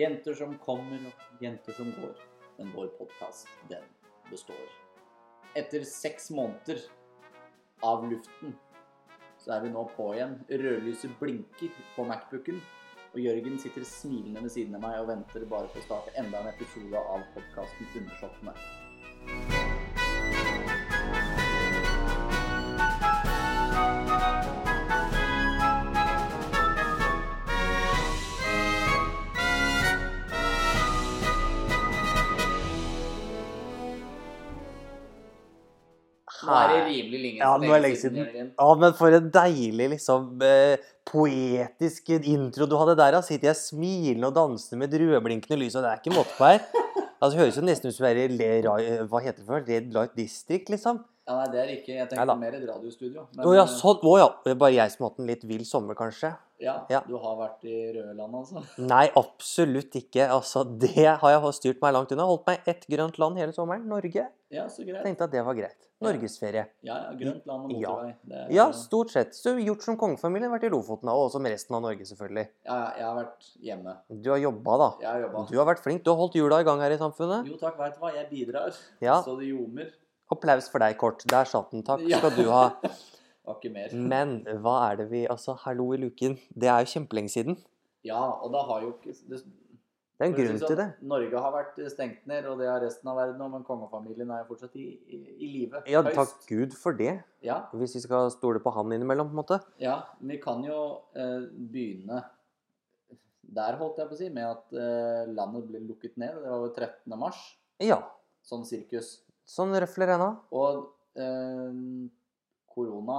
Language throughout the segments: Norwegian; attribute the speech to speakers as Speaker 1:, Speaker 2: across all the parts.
Speaker 1: jenter som kommer og jenter som går. Men vår podkast, den består. Etter seks måneder av luften, så er vi nå på igjen. Rødlyset blinker på Macbooken, og Jørgen sitter smilende ved siden av meg og venter bare på å starte enda en episode av podkasten Undersåttene. Nå er det rimelig lenge,
Speaker 2: Ja, nå er det lenge siden.
Speaker 1: Jørgen.
Speaker 2: Ja, men for en deilig, liksom eh, poetisk intro du hadde der. Da sitter jeg smilende og dansende med et rødblinkende lys, og det er ikke måte på her. Altså, det høres jo nesten ut som det er i Le Ra- eh, hva heter det for noe? Red Light District, liksom.
Speaker 1: Ja, nei, det er ikke. Jeg
Speaker 2: Neida.
Speaker 1: tenkte mer et radiostudio. men,
Speaker 2: Å ja,
Speaker 1: eh,
Speaker 2: sånn. Å ja. Det er Bare jeg som har hatt en litt vill sommer, kanskje.
Speaker 1: Ja,
Speaker 2: Ja.
Speaker 1: du har vært i røde land, altså.
Speaker 2: Nei, absolutt ikke. Altså, det har jeg styrt meg langt unna. Holdt meg ett grønt land hele sommeren. Norge.
Speaker 1: Ja, så greit.
Speaker 2: Tenkte at det var greit. Norgesferie.
Speaker 1: Ja, ja, grønt land og
Speaker 2: Ja.
Speaker 1: motorvei. Det er-
Speaker 2: Ja, stort sett. Så gjort som kongefamilien. Vært i Lofoten, da. Og også med resten av Norge, selvfølgelig.
Speaker 1: ja, ja, jeg har vært hjemme.
Speaker 2: Du har jobba, da.
Speaker 1: Jeg har jobba.
Speaker 2: Du har vært flink. Du har holdt hjula i gang her i samfunnet.
Speaker 1: Jo takk, veit du hva, jeg bidrar.
Speaker 2: Ja.
Speaker 1: Så det ljomer.
Speaker 2: Applaus for deg, Kort. Der satt den. Takk
Speaker 1: Ja.
Speaker 2: skal du ha.
Speaker 1: Var ikke mer.
Speaker 2: Men hva er det vi Altså, hallo i luken. Det er jo kjempelenge siden.
Speaker 1: Ja, og da har jo ikke det,
Speaker 2: Det er en
Speaker 1: for å si
Speaker 2: grunn
Speaker 1: sånn,
Speaker 2: til det.
Speaker 1: Norge har vært stengt ned, og det har resten av verden òg, men kongefamilien er jo fortsatt i, i, i live.
Speaker 2: Ja,
Speaker 1: Høyst.
Speaker 2: takk Gud for det.
Speaker 1: Ja,
Speaker 2: Hvis vi skal stole på han innimellom, på en måte.
Speaker 1: ja, men vi kan jo eh, begynne der, holdt jeg på å si, med at eh, landet ble lukket ned. Det var jo 13. mars,
Speaker 2: Ja.
Speaker 1: sånn sirkus.
Speaker 2: Sånn røfler ennå.
Speaker 1: Og eh, korona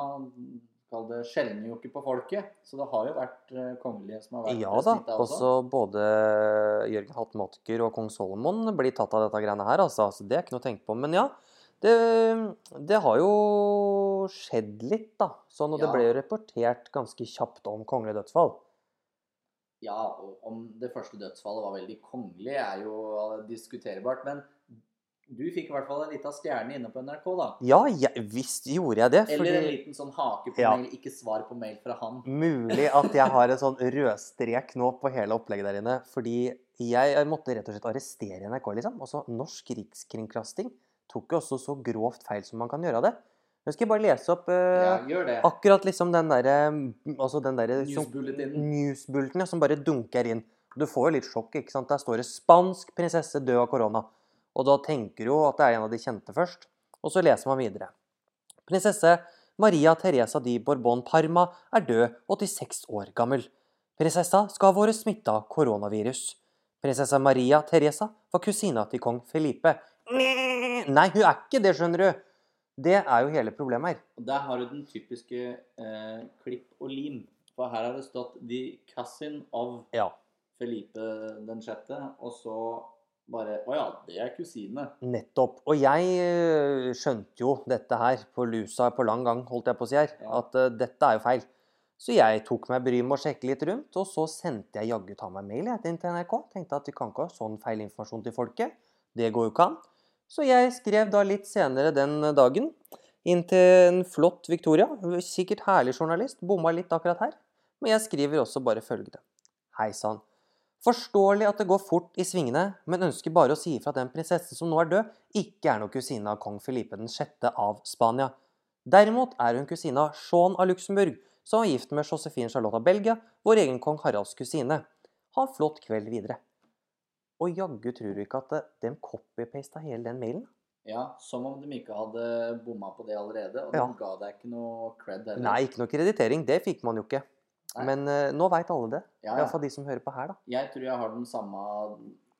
Speaker 1: kall det, skjelner jo ikke på folket, så det har jo vært eh, kongelige som har vært
Speaker 2: Ja
Speaker 1: eh,
Speaker 2: da.
Speaker 1: smittet også.
Speaker 2: Også både Jørgen Hattmatker og kong Solomon blir tatt av dette greiene her, altså. altså det er ikke noe å tenke på. Men ja, det, det har jo skjedd litt, da. Sånn, og
Speaker 1: Ja.
Speaker 2: det ble jo rapportert ganske kjapt om kongelige dødsfall.
Speaker 1: Ja, og om det første dødsfallet var veldig kongelig, er jo eh, diskuterbart. Men du fikk i hvert fall en lita stjerne inne på NRK, da.
Speaker 2: Ja, jeg, visst gjorde jeg det.
Speaker 1: Eller en
Speaker 2: Fordi
Speaker 1: liten sånn hake på
Speaker 2: Ja.
Speaker 1: mail, ikke svar på mail fra han.
Speaker 2: mulig at jeg har en sånn rød strek nå på hele opplegget der inne. Fordi jeg måtte rett og slett arrestere NRK, liksom. Altså, Norsk rikskringkasting tok jo også så grovt feil som man kan gjøre av det. Nå skal jeg bare lese opp eh,
Speaker 1: Ja, gjør det.
Speaker 2: akkurat liksom den derre Altså den derre som-
Speaker 1: Newsbulletinen.
Speaker 2: newsbulten ja, som bare dunker inn. Du får jo litt sjokk, ikke sant? Der står det 'Spansk prinsesse død av korona'. Og da tenker du jo at det er en av de kjente først. Og så leser man videre. Prinsesse Maria Teresa di Borbon Parma er død, 86 år gammel. Prinsessa skal ha vært smitta av koronavirus. Prinsesse Maria Teresa var kusina til kong Felipe. Nei, hun er ikke det, skjønner du. Det er jo hele problemet her.
Speaker 1: Og der har du den typiske eh, klipp og lim. For her har det stått 'The cousin of'
Speaker 2: Ja.
Speaker 1: Felipe den sjette, og så bare Å ja, det er kusine.
Speaker 2: Nettopp. Og jeg eh, skjønte jo dette her på lusa på lang gang, holdt jeg på å si her,
Speaker 1: Ja.
Speaker 2: at eh, dette er jo feil. Så jeg tok meg bryet med å sjekke litt rundt, og så sendte jeg jaggu ta meg mail jeg, inn til NRK. Tenkte at vi kan ikke ha sånn feil informasjon til folket. Det går jo ikke an. Så jeg skrev da litt senere den dagen inn til en flott Victoria. Sikkert herlig journalist. Bomma litt akkurat her. Men jeg skriver også bare følgende. Hei sann. Forståelig at det går fort i svingene, men ønsker bare å si ifra at den prinsessen som nå er død, ikke er noen kusine av kong Felipe 6. av Spania. Derimot er hun kusine av Jean av Luxembourg, som var gift med Josefine Charlotte av Belgia, vår egen kong Haralds kusine. Ha en flott kveld videre. Og jaggu tror du ikke at eh, de copy-pasta hele den mailen?
Speaker 1: Ja, Som om de ikke hadde bomma på det allerede. Og
Speaker 2: Ja.
Speaker 1: de ga deg ikke noe cred heller.
Speaker 2: Nei, ikke noe kreditering. Det fikk man jo ikke.
Speaker 1: Nei.
Speaker 2: Men eh, nå veit alle det.
Speaker 1: Ja, ja.
Speaker 2: Iallfall de som hører på her, da.
Speaker 1: Jeg tror jeg har den samme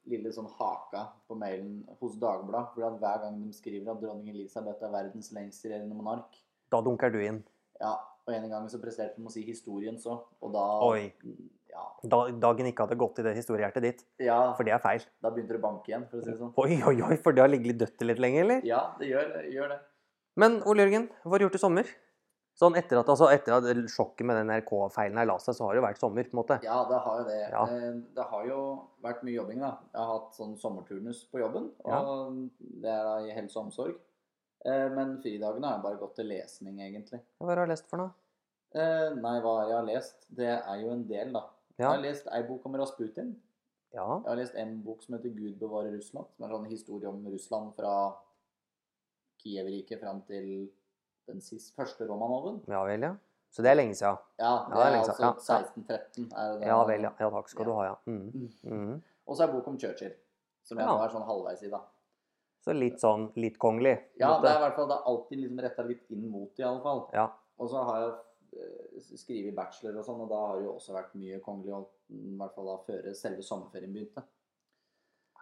Speaker 1: lille sånn haka på mailen hos Dagbladet. For at hver gang de skriver at dronning Elisabeth er verdens lengstregjerende monark
Speaker 2: Da dunker du inn.
Speaker 1: Ja, og en gang så presterte de å si historien så, og da
Speaker 2: Oi.
Speaker 1: Ja,
Speaker 2: Da, dagen ikke hadde gått i det historiehjertet ditt.
Speaker 1: ja
Speaker 2: For det er feil.
Speaker 1: da begynte det å banke igjen, for å si det sånn.
Speaker 2: Oi, oi, oi, for det har ligget litt dødt til litt lenge, eller?
Speaker 1: Ja, det gjør, gjør det.
Speaker 2: Men Ole Jørgen, hva har du gjort i sommer? Sånn etter at, altså, etter at sjokket med den NRK-feilen her la seg, så har det jo vært sommer, på en måte.
Speaker 1: Ja, det har jo det.
Speaker 2: Ja.
Speaker 1: Eh, Det har jo vært mye jobbing, da. Jeg har hatt sånn sommerturnus på jobben, og det er da i helse og omsorg. Eh, Men fridagene har jeg bare gått til lesning, egentlig.
Speaker 2: Hva har du lest for noe?
Speaker 1: Eh, Nei, hva jeg har lest, det er jo en del, da.
Speaker 2: Ja.
Speaker 1: Jeg har lest ei bok om Rasputin.
Speaker 2: Ja.
Speaker 1: Jeg har lest en bok som heter 'Gud bevare Russland', som er en sånn historie om Russland fra Kiev-riket fram til den sist, første Romanoven.
Speaker 2: ja vel, ja. Så det er lenge siden.
Speaker 1: Ja, det
Speaker 2: Ja, det er
Speaker 1: er
Speaker 2: lenge
Speaker 1: altså
Speaker 2: siden. Ja, ja.
Speaker 1: 1613. Er det den-
Speaker 2: Ja vel, ja. ja takk skal du ha, ja. Mm.
Speaker 1: Mm.
Speaker 2: Mm.
Speaker 1: Og så er det bok om Churchill, som jeg
Speaker 2: Ja.
Speaker 1: nå er sånn halvveis i, da.
Speaker 2: Så litt sånn litt kongelig. på en
Speaker 1: Ja,
Speaker 2: måte.
Speaker 1: det er i hvert fall det er alltid liksom retta litt inn mot det, i alle fall.
Speaker 2: ja.
Speaker 1: Og så har jeg eh, skrevet bachelor og sånn, og da har det jo også vært mye kongelig, og mm, i hvert fall da før selve sommerferien begynte.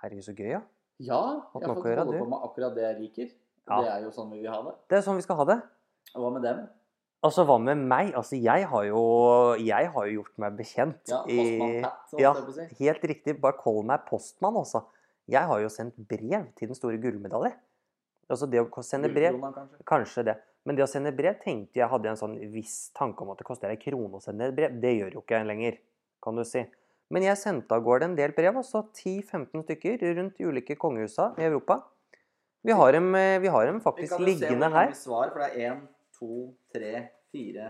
Speaker 2: Herregud, så gøy, ja.
Speaker 1: Ja,
Speaker 2: Hatt
Speaker 1: jeg har
Speaker 2: noe å
Speaker 1: fått
Speaker 2: gjøre,
Speaker 1: holde
Speaker 2: du.
Speaker 1: på med akkurat det jeg liker.
Speaker 2: Ja.
Speaker 1: Det er jo sånn vi vil ha det.
Speaker 2: Det er sånn vi skal ha det.
Speaker 1: Og hva med dem?
Speaker 2: Altså, hva med meg? Altså, jeg har jo, jeg har jo gjort meg bekjent
Speaker 1: Ja, Postmann Pat, sånn
Speaker 2: ja.
Speaker 1: skal jeg på å si.
Speaker 2: Helt riktig, bare kall meg postmann, altså. Jeg har jo sendt brev til den store gullmedalje. Altså, det å sende brev
Speaker 1: Gullkrona, kanskje.
Speaker 2: Kanskje det. Men det å sende brev tenkte jeg hadde en sånn viss tanke om at det koster ei krone å sende et brev. Det gjør jo ikke jeg lenger, kan du si. Men jeg sendte av gårde en del brev, altså 10-15 stykker rundt i ulike kongehusa i Europa. Vi har dem, eh, vi har dem
Speaker 1: Vi
Speaker 2: faktisk
Speaker 1: kan jo se hvor
Speaker 2: liggende her.
Speaker 1: mange svar, for det er én, to, tre, fire,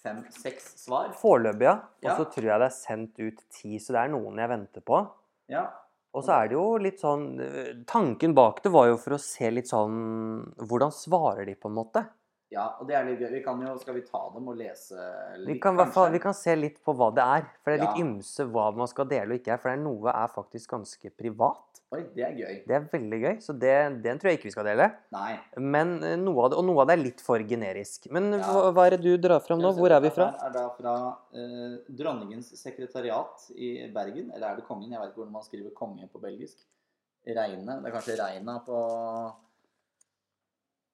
Speaker 1: fem, seks svar.
Speaker 2: Foreløpig, ja. Og
Speaker 1: Ja.
Speaker 2: så tror jeg det er sendt ut ti, så det er noen jeg venter på.
Speaker 1: Ja.
Speaker 2: Og så er det jo litt sånn eh, Tanken bak det var jo for å se litt sånn Hvordan svarer de, på en måte?
Speaker 1: ja, og det er litt gøy. Vi kan jo, Skal vi ta dem og lese litt,
Speaker 2: Vi kan, i hvert fall, vi kan se litt på hva det er. For det er litt
Speaker 1: Ja.
Speaker 2: ymse hva man skal dele og ikke er. For det er noe er faktisk ganske privat.
Speaker 1: Oi, det er gøy.
Speaker 2: Det er veldig gøy, så det, den tror jeg ikke vi skal dele.
Speaker 1: Nei.
Speaker 2: Men eh, noe av det, Og noe av det er litt for generisk. Men
Speaker 1: Ja.
Speaker 2: hva, hva er det du drar fram nå? Hvor er vi fra?
Speaker 1: Dette her er da fra eh, Dronningens sekretariat i Bergen. Eller er det kongen? Jeg vet ikke hvordan man skriver konge på belgisk. Reine. Det er kanskje Reina på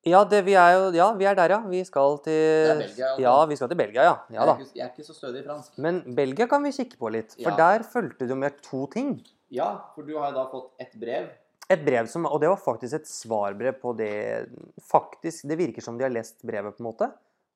Speaker 2: Ja, det, vi er jo Ja, vi er der, ja. Vi skal
Speaker 1: Det er
Speaker 2: til
Speaker 1: Belgia, altså.
Speaker 2: Ja, vi skal til Belgia, ja. ja
Speaker 1: jeg,
Speaker 2: da.
Speaker 1: er ikke, jeg er ikke så stødig i fransk.
Speaker 2: Men Belgia kan vi kikke på litt. For
Speaker 1: Ja.
Speaker 2: der fulgte du med to ting.
Speaker 1: Ja, for du har jo da fått ett brev.
Speaker 2: Et brev som, Og det var faktisk et svarbrev på det Faktisk, det virker som de har lest brevet, på en måte,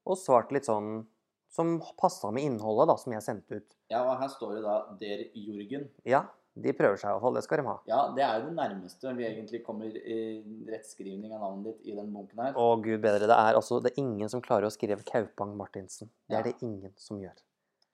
Speaker 2: og svart litt sånn som passa med innholdet, da, som jeg sendte ut.
Speaker 1: Ja, og her står det da 'Der Jurgen'.
Speaker 2: Ja, de prøver seg i hvert fall. Det skal de ha.
Speaker 1: Ja, det er jo det nærmeste vi egentlig kommer i rettskrivning av navnet ditt i den bunken her.
Speaker 2: Å, gud bedre. Det er altså det er ingen som klarer å skrive Kaupang Martinsen. Det
Speaker 1: Ja.
Speaker 2: er det ingen som gjør.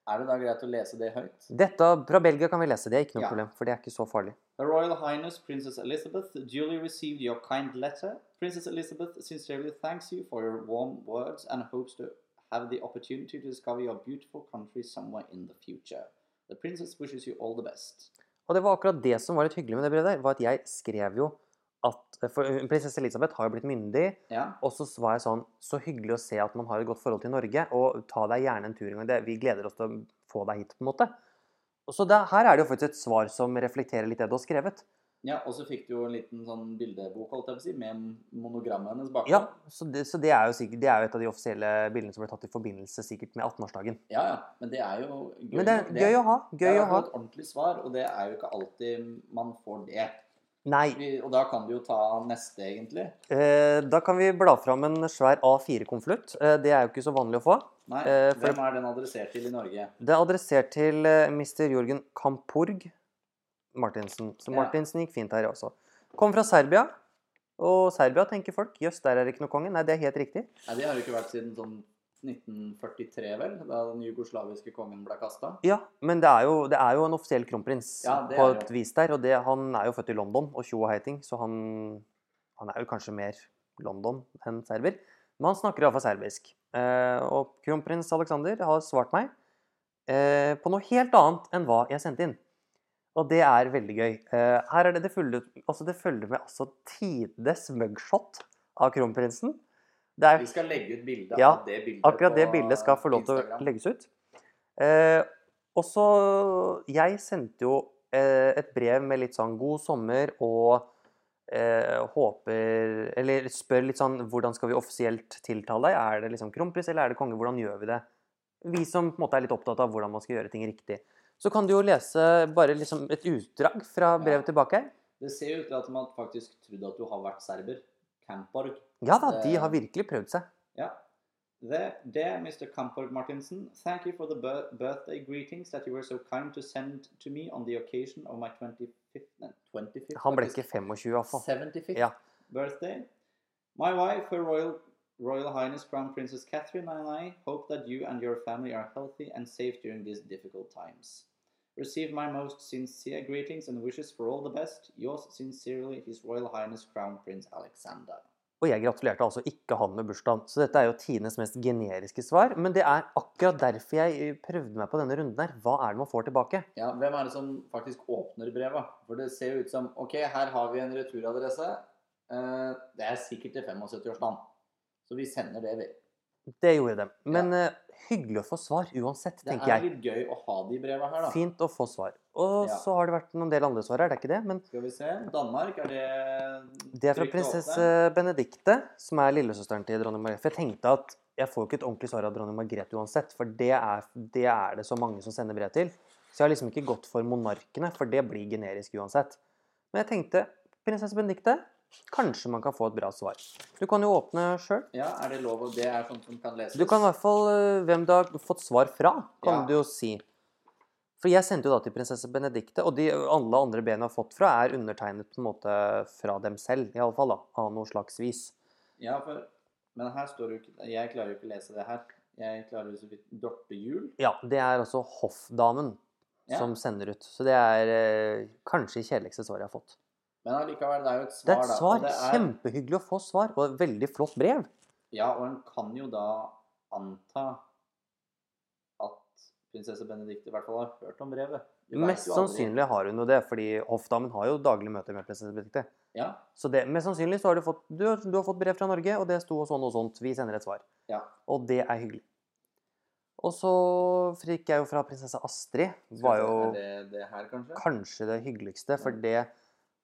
Speaker 1: Er det da greit å lese det høyt?
Speaker 2: Dette fra Belgia kan vi lese, det er ikke noe
Speaker 1: Ja.
Speaker 2: problem, for det er ikke så farlig.
Speaker 1: Her Royal Highness Princess Elizabeth duly received your kind letter. Princess Elizabeth sincerely thanks you for your warm words and hopes to have the opportunity to discover your beautiful country somewhere in the future. The princess wishes you all the best.
Speaker 2: Og det var akkurat det som var litt hyggelig med det brevet der, var at jeg skrev jo at For eh, prinsesse Elisabeth har jo blitt myndig,
Speaker 1: Ja,
Speaker 2: Og så var jeg sånn Så hyggelig å se at man har et godt forhold til Norge, og ta deg gjerne en tur en gang. Det, vi gleder oss til å få deg hit, på en måte. Og så det, her er det jo faktisk et svar som reflekterer litt det du har skrevet.
Speaker 1: ja og så fikk du jo en liten sånn bildebok, holdt jeg på å si, med monogrammet hennes bakpå.
Speaker 2: Ja, Så det, så det er jo sikkert, det er jo et av de offisielle bildene som ble tatt i forbindelse sikkert med 18-årsdagen.
Speaker 1: ja, ja, men det er jo gøy.
Speaker 2: Men det
Speaker 1: nok,
Speaker 2: er gøy å ha.
Speaker 1: det
Speaker 2: Gøy
Speaker 1: er
Speaker 2: å ha.
Speaker 1: et ordentlig svar, og det er jo ikke alltid man får det.
Speaker 2: Nei,
Speaker 1: Vi- Og da kan du jo ta neste, egentlig.
Speaker 2: eh, da kan vi bla fram en svær A4-konvolutt. Eh, det er jo ikke så vanlig å få.
Speaker 1: Nei,
Speaker 2: Eh, for-
Speaker 1: Hvem er den adressert til i Norge?
Speaker 2: Det er adressert til eh, Mr. Jorgen Kampurg Martinsen. Så
Speaker 1: Ja.
Speaker 2: Martinsen gikk fint her også. Kom fra Serbia. Og Serbia tenker folk jøss, der er det ikke noe konge. Nei, det er helt riktig.
Speaker 1: Nei, Det har jo ikke vært siden sånn 1943, vel? Da den jugoslaviske kongen ble kasta.
Speaker 2: Ja, men det er jo, det er jo en offisiell kronprins
Speaker 1: Ja, det
Speaker 2: på
Speaker 1: er det
Speaker 2: et vis der. Og det, han er jo født i London og tjo og heiting, så han, han er jo kanskje mer London enn serber. Men han snakker iallfall serbisk. Eh, og kronprins Aleksander har svart meg eh, på noe helt annet enn hva jeg sendte inn. Og det er veldig gøy. Eh, her er det det følger, altså det følger med altså tidenes mugshot av kronprinsen. Det er
Speaker 1: Vi skal legge ut bilde
Speaker 2: Ja,
Speaker 1: av det bildet
Speaker 2: Akkurat det
Speaker 1: på
Speaker 2: bildet skal få lov til å
Speaker 1: Instagram.
Speaker 2: legges ut. Eh, og så Jeg sendte jo eh, et brev med litt sånn 'god sommer' og eh, håper Eller spør litt sånn 'hvordan skal vi offisielt tiltale deg'? Er det liksom kronprins eller er det konge? Hvordan gjør vi det? Vi som på en måte er litt opptatt av hvordan man skal gjøre ting riktig. Så kan du jo lese bare liksom et utdrag fra brevet tilbake her.
Speaker 1: Det ser jo ut til at man faktisk trodde at du har vært serber. Camporg.
Speaker 2: Ja da, de har virkelig prøvd seg.
Speaker 1: Ja. There, dear Mr. Kamporg Martinsen, thank you for the bir- birthday greetings that you were so kind to send to me on the occasion of my 25th, nei, 25th
Speaker 2: Han ble
Speaker 1: faktisk.
Speaker 2: ikke 25, iallfall.
Speaker 1: 75th
Speaker 2: Ja.
Speaker 1: birthday. My wife, Her Royal, Royal Highness Crown Princess Catherine, and I hope that you and your family are healthy and safe during these difficult times. Receive my most sincere greetings and wishes for all the best. Yours sincerely, His Royal Highness Crown Prince Alexander.
Speaker 2: Og jeg gratulerte altså ikke han med bursdagen. Så dette er jo Tines mest generiske svar. Men det er akkurat derfor jeg eh, prøvde meg på denne runden her. Hva er det man får tilbake?
Speaker 1: Ja, Hvem er det som faktisk åpner brevet? For det ser jo ut som Ok, her har vi en returadresse. Eh, det er sikkert til 75-årsdagen. Så vi sender det, vi.
Speaker 2: Det gjorde de. Men eh, hyggelig å få svar uansett,
Speaker 1: Det er
Speaker 2: tenker jeg.
Speaker 1: litt gøy å ha de breva her, da.
Speaker 2: Fint å få svar. Og
Speaker 1: Ja.
Speaker 2: så har det vært noen del andre svar her, det er ikke det? Men
Speaker 1: Skal vi se. Danmark, er det
Speaker 2: det er fra
Speaker 1: trygt å
Speaker 2: prinsesse
Speaker 1: åpne?
Speaker 2: Benedikte, som er lillesøsteren til dronning Margrethe. For jeg tenkte at jeg får jo ikke et ordentlig svar av dronning Margrethe uansett, for det er, det er det så mange som sender brev til. Så jeg har liksom ikke gått for monarkene, for det blir generisk uansett. Men jeg tenkte, prinsesse Benedikte, kanskje man kan få et bra svar. Du kan jo åpne sjøl.
Speaker 1: Ja, er det lov? å- Det er sånt som kan leses.
Speaker 2: Du kan i hvert fall eh, Hvem du har fått svar fra, kan
Speaker 1: Ja.
Speaker 2: du jo si. For jeg sendte jo da til prinsesse Benedikte, og de alle andre ben jeg har fått fra, er undertegnet på en måte fra dem selv, iallfall, av noe slags vis.
Speaker 1: Ja, for Men her står jo ikke Jeg klarer jo ikke å lese det her. Jeg klarer jo så vidt Dorte Juel.
Speaker 2: Ja, det er altså hoffdamen
Speaker 1: Ja.
Speaker 2: som sender ut. Så det er eh, kanskje det kjedeligste svaret jeg har fått.
Speaker 1: Men allikevel, det er jo et svar,
Speaker 2: Det er
Speaker 1: da.
Speaker 2: et svar.
Speaker 1: og det er-
Speaker 2: Kjempehyggelig å få svar, og et veldig flott brev.
Speaker 1: Ja, og en kan jo da anta at prinsesse Benedikte i hvert fall har hørt om brevet. Vi vet
Speaker 2: Mest
Speaker 1: jo aldri.
Speaker 2: sannsynlig har hun jo det, fordi hoffdamen har jo daglig møter med prinsesse Benedikte.
Speaker 1: Ja,
Speaker 2: Så det, mest sannsynlig så har du fått, du, har- du har fått brev fra Norge, og det sto og sånn og sånt. Vi sender et svar.
Speaker 1: Ja.
Speaker 2: Og det er hyggelig. Og så fikk jeg jo fra prinsesse Astrid.
Speaker 1: skal
Speaker 2: Var
Speaker 1: vi se,
Speaker 2: jo
Speaker 1: Er det det her, kanskje?
Speaker 2: kanskje det hyggeligste, for
Speaker 1: Ja.
Speaker 2: det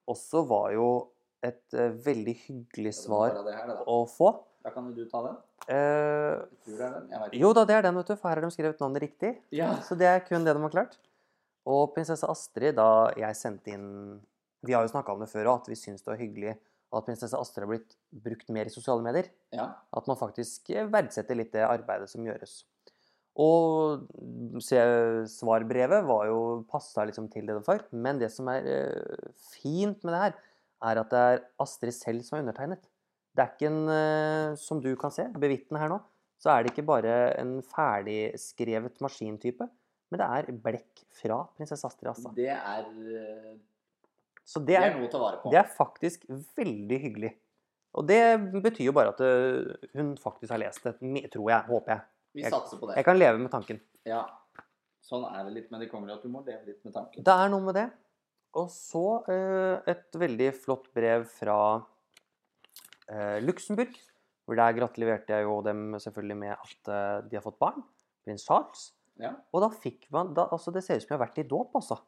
Speaker 2: også var jo et eh, veldig hyggelig
Speaker 1: Ja, det må
Speaker 2: svar
Speaker 1: være det her, det da.
Speaker 2: å få.
Speaker 1: da kan jo du ta den.
Speaker 2: Eh,
Speaker 1: Jeg tror det er den. Jeg vet ikke.
Speaker 2: jo da, det er den, vet du, for her har de skrevet navnet riktig.
Speaker 1: Ja.
Speaker 2: Så det er kun det de har klart. Og prinsesse Astrid, da jeg sendte inn Vi har jo snakka om det før òg, at vi syns det var hyggelig at prinsesse Astrid har blitt brukt mer i sosiale medier.
Speaker 1: ja.
Speaker 2: At man faktisk eh, verdsetter litt det arbeidet som gjøres. Og se- svarbrevet var jo passa liksom til det det var, men det som er eh, fint med det her, er at det er Astrid selv som er undertegnet. Det er ikke en, eh, som du kan se, bevitne her nå, så er det ikke bare en ferdigskrevet maskintype, men det er blekk fra prinsesse Astrid Assa.
Speaker 1: Det er, eh,
Speaker 2: Så
Speaker 1: det
Speaker 2: det
Speaker 1: er
Speaker 2: er,
Speaker 1: noe å ta vare på.
Speaker 2: det er faktisk veldig hyggelig. Og det betyr jo bare at eh, hun faktisk har lest det, me- tror jeg, håper jeg.
Speaker 1: Vi
Speaker 2: jeg-
Speaker 1: satser på det.
Speaker 2: Jeg kan leve med tanken.
Speaker 1: Ja. Sånn er det litt med de kongelige, at du må leve litt med tanken.
Speaker 2: Det er noe med det. Og så eh, et veldig flott brev fra eh, Luxembourg. Hvor der gratulerte jeg jo dem selvfølgelig med at eh, de har fått barn. Prins Charles.
Speaker 1: Ja.
Speaker 2: Og da fikk man da, altså Det ser ut som jeg har vært i dåp, altså.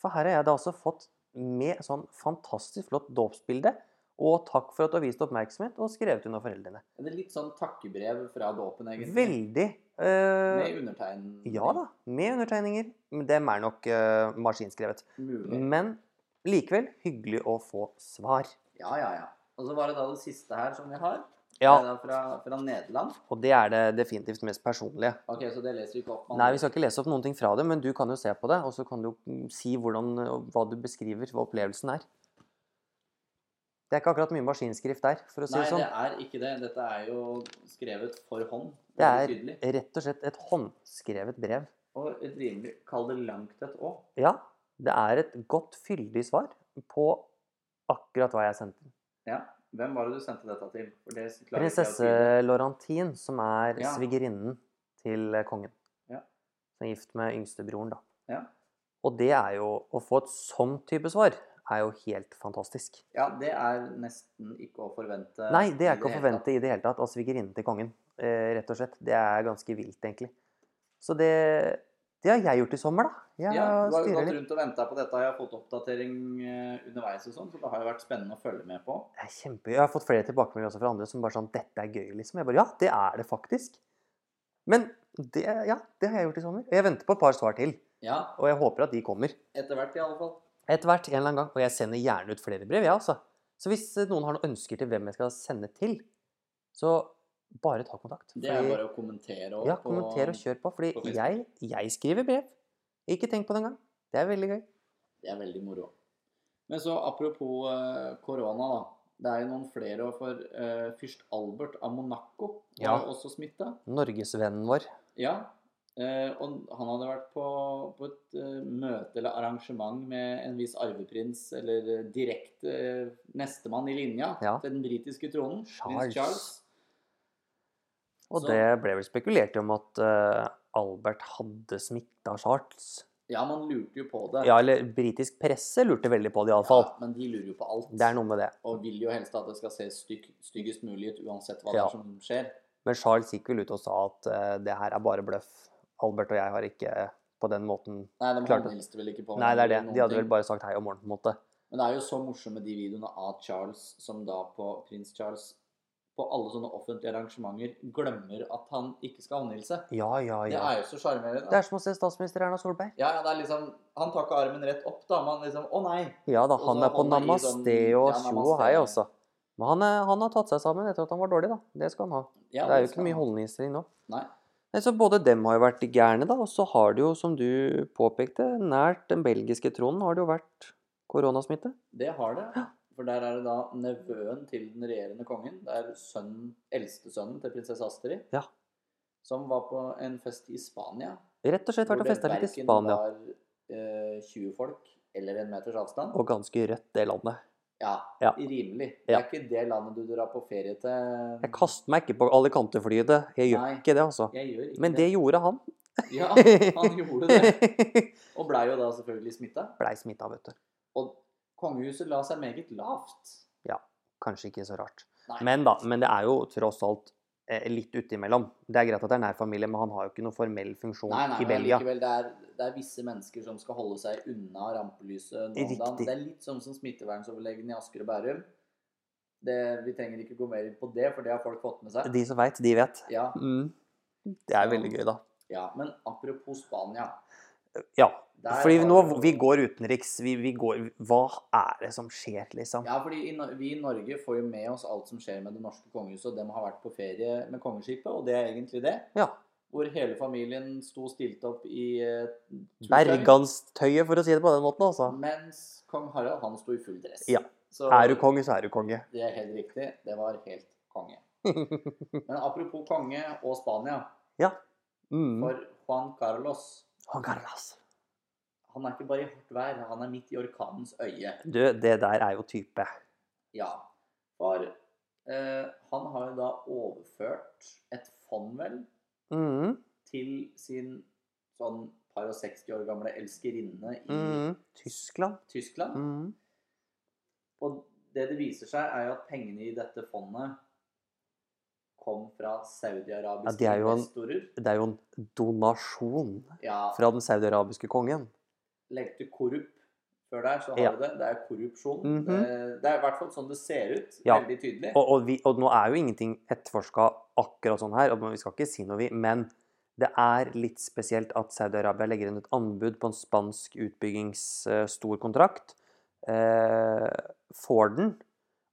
Speaker 2: For her har jeg da altså fått med sånn fantastisk flott dåpsbilde. Og takk for at du har vist oppmerksomhet og skrevet under foreldrene.
Speaker 1: Det er litt sånn takkebrev fra dåpen, egentlig.
Speaker 2: Veldig eh,
Speaker 1: Med undertegn.
Speaker 2: Ja da. Med undertegninger. Men dem er nok eh, maskinskrevet.
Speaker 1: Mulig.
Speaker 2: Men likevel hyggelig å få svar.
Speaker 1: Ja, ja, ja. Og så var det da det siste her som vi har.
Speaker 2: Ja,
Speaker 1: Det er da fra, fra Nederland.
Speaker 2: og det er det definitivt mest personlige.
Speaker 1: Ok, så det leser vi ikke opp.
Speaker 2: Nei, vi skal ikke lese opp noen ting fra det, men du kan jo se på det, og så kan du jo mm, si hvordan, og hva du beskriver, hva opplevelsen er. Det er ikke akkurat mye maskinskrift der, for å si
Speaker 1: Nei,
Speaker 2: det
Speaker 1: det
Speaker 2: sånn.
Speaker 1: er ikke det. Dette er jo skrevet for hånd.
Speaker 2: Det
Speaker 1: veldig
Speaker 2: er-
Speaker 1: tydelig.
Speaker 2: Rett og slett et håndskrevet brev.
Speaker 1: Og et rimelig Kall det langt et år.
Speaker 2: Ja, det er et godt, fyldig svar på akkurat hva jeg sendte.
Speaker 1: Ja. Hvem var det du sendte dette til? For det klarer ikke jeg å
Speaker 2: Prinsesse
Speaker 1: tyde.
Speaker 2: Laurentine, som er
Speaker 1: Ja.
Speaker 2: svigerinnen til eh, kongen.
Speaker 1: Ja.
Speaker 2: Som er gift med yngstebroren, da.
Speaker 1: Ja.
Speaker 2: Og det er jo Å få et sånn type svar er jo helt fantastisk.
Speaker 1: Ja, det er nesten ikke å forvente.
Speaker 2: Nei, det
Speaker 1: i
Speaker 2: er ikke å
Speaker 1: hele
Speaker 2: forvente i det hele tatt av svigerinnen til kongen, eh, rett og slett. Det er ganske vilt, egentlig. Så det Det har jeg gjort i sommer, da.
Speaker 1: tatt.
Speaker 2: Jeg
Speaker 1: Ja, du har jo
Speaker 2: styrer
Speaker 1: gått
Speaker 2: litt.
Speaker 1: rundt og venta på dette. Jeg har fått oppdatering eh, underveis og sånn, så det har jo vært spennende å følge med på.
Speaker 2: Det er kjempegøy. Jeg har fått flere tilbakemeldinger også fra andre som bare sånn 'Dette er gøy', liksom. Jeg bare Ja, det er det faktisk. Men det, ja, det har jeg gjort i sommer. Og jeg venter på et par svar til.
Speaker 1: Ja,
Speaker 2: Og jeg håper at de kommer.
Speaker 1: etter hvert i alle fall.
Speaker 2: Etter hvert, en eller annen gang. Og jeg sender gjerne ut flere brev, jeg, altså. Så hvis eh, noen har noen ønsker til hvem jeg skal sende til, så bare ta kontakt.
Speaker 1: Det er
Speaker 2: Fordi-
Speaker 1: bare å kommentere og
Speaker 2: Ja, kommenter og kjør på. Fordi
Speaker 1: på Facebook.
Speaker 2: jeg, jeg skriver brev. Ikke tenk på det engang. Det er veldig gøy.
Speaker 1: Det er veldig moro. Men så apropos eh, korona, da. Det er jo noen flere, og for eh, fyrst Albert av Monaco var
Speaker 2: Ja.
Speaker 1: jo også smitta.
Speaker 2: Norgesvennen vår.
Speaker 1: Ja. Eh, og han hadde vært på, på et eh, møte eller arrangement med en viss arveprins, eller eh, direkte eh, nestemann i linja
Speaker 2: Ja.
Speaker 1: til den britiske tronen,
Speaker 2: Charles.
Speaker 1: prins Charles.
Speaker 2: Og
Speaker 1: Så-
Speaker 2: det ble vel spekulert i om at eh, Albert hadde smitta Charles.
Speaker 1: Ja, man lurte jo på det.
Speaker 2: Ja, eller britisk presse lurte veldig på det, iallfall.
Speaker 1: Ja, men de lurer jo på alt.
Speaker 2: Det er noe med det.
Speaker 1: Og vil jo helst at det skal se stygg, styggest mulig ut uansett hva
Speaker 2: Ja.
Speaker 1: det er som skjer.
Speaker 2: Men Charles gikk vel ut og sa at eh, det her er bare bløff. Albert og jeg har ikke eh, på den måten
Speaker 1: Nei, de
Speaker 2: Klart det.
Speaker 1: håndhilste vel ikke på
Speaker 2: Nei, det er
Speaker 1: hverandre
Speaker 2: det.
Speaker 1: eller
Speaker 2: De
Speaker 1: noen
Speaker 2: hadde vel
Speaker 1: ting.
Speaker 2: bare sagt hei om morgenen, på en måte.
Speaker 1: Men det er jo så morsomme de videoene av Charles som da på prins Charles på alle sånne offentlige arrangementer glemmer at han ikke skal håndhilse.
Speaker 2: Ja, ja,
Speaker 1: Det
Speaker 2: ja.
Speaker 1: er jo så sjarmerende.
Speaker 2: Det er som å se statsminister Erna Solberg.
Speaker 1: Ja, ja, det er liksom Han tar ikke armen rett opp, da, men liksom Å nei!
Speaker 2: Ja da,
Speaker 1: Og så
Speaker 2: han er på
Speaker 1: holder i sånn-
Speaker 2: namaste og
Speaker 1: ja,
Speaker 2: tjo og
Speaker 1: namaste.
Speaker 2: hei, altså. Men han, er, han har tatt seg sammen etter at han var dårlig, da. Det skal han ha.
Speaker 1: Ja,
Speaker 2: Det er jo
Speaker 1: skal
Speaker 2: ikke mye
Speaker 1: han.
Speaker 2: holdningsstrid nå.
Speaker 1: Nei.
Speaker 2: Nei, Så både dem har jo vært gærne, da, og så har det jo, som du påpekte, nært den belgiske tronen har det jo vært koronasmitte.
Speaker 1: Det har det. For der er det da nevøen til den regjerende kongen. Det er sønnen, eldstesønnen til prinsesse Astrid.
Speaker 2: Ja.
Speaker 1: Som var på en fest i Spania.
Speaker 2: Rett og slett vært og festa litt i Spania.
Speaker 1: Hvor det verken var eh, 20 folk eller en meters avstand.
Speaker 2: Og ganske rødt, det landet.
Speaker 1: Ja,
Speaker 2: Ja.
Speaker 1: rimelig. Det
Speaker 2: Ja.
Speaker 1: er ikke det landet du drar på ferie til.
Speaker 2: Jeg kaster meg ikke på Alicante-flyet. Jeg gjør
Speaker 1: Nei.
Speaker 2: ikke det, altså.
Speaker 1: Jeg gjør ikke
Speaker 2: Men det gjorde han.
Speaker 1: Ja, han gjorde det. Og blei jo da selvfølgelig smitta.
Speaker 2: Blei smitta, vet du.
Speaker 1: Og kongehuset la seg meget lavt.
Speaker 2: Kanskje ikke så rart.
Speaker 1: Nei.
Speaker 2: Men da, men det er jo tross alt eh, litt utimellom. Det er greit at det er nær familie, men han har jo ikke noen formell funksjon
Speaker 1: Nei, nei,
Speaker 2: i
Speaker 1: men
Speaker 2: Belgia.
Speaker 1: likevel, det er, det er visse mennesker som skal holde seg unna rampelyset nå om dagen.
Speaker 2: Riktig.
Speaker 1: Det er litt sånn som smittevernoverlegen i Asker og Bærum. Det, vi trenger ikke gå mer inn på det, for det har folk fått med seg.
Speaker 2: De som veit, de vet.
Speaker 1: Ja,
Speaker 2: Mm. Det er veldig gøy, da.
Speaker 1: ja. Men apropos Spania.
Speaker 2: Ja.
Speaker 1: der
Speaker 2: Fordi
Speaker 1: har
Speaker 2: nå
Speaker 1: jo-
Speaker 2: vi går utenriks. Vi, vi går Hva er det som skjer, liksom?
Speaker 1: Ja, fordi i, Nor- vi i Norge får jo med oss alt som skjer med det norske kongehuset, og dem har vært på ferie med kongeskipet, og det er egentlig det.
Speaker 2: Ja.
Speaker 1: Hvor hele familien sto stilt opp i eh, turtøy,
Speaker 2: Berganstøyet, for å si det på den måten, altså.
Speaker 1: mens kong Harald, han sto i full dress.
Speaker 2: Ja.
Speaker 1: Mm, Så-
Speaker 2: Er du konge, så er du konge.
Speaker 1: Det er helt riktig. Det var helt konge. Men apropos konge og Spania,
Speaker 2: Mm.
Speaker 1: for Juan Carlos
Speaker 2: Han Carlos.
Speaker 1: han er ikke bare i hardt vær, han er midt i orkanens øye.
Speaker 2: Du, det der er jo type.
Speaker 1: Ja. For eh, han har jo da overført et fond, vel,
Speaker 2: Mm.
Speaker 1: til sin sånn par og 60 år gamle elskerinne i
Speaker 2: Mm. Tyskland.
Speaker 1: Tyskland.
Speaker 2: Mm.
Speaker 1: Og det det viser seg, er jo at pengene i dette fondet kom fra
Speaker 2: Ja,
Speaker 1: saudi-arabiske
Speaker 2: det er jo en-
Speaker 1: investorer.
Speaker 2: Det er jo en donasjon
Speaker 1: Ja,
Speaker 2: fra den saudiarabiske kongen.
Speaker 1: legg til korrup før der, så har
Speaker 2: Ja.
Speaker 1: du det. Det er korrupsjon.
Speaker 2: Mhm.
Speaker 1: det, det er i hvert fall sånn det ser ut.
Speaker 2: Ja.
Speaker 1: Veldig tydelig.
Speaker 2: Og, og, vi, og nå er jo ingenting etterforska akkurat sånn her, og vi skal ikke si noe, vi. Men det er litt spesielt at Saudi-Arabia legger inn et anbud på en spansk utbyggingsstorkontrakt. Eh, får den,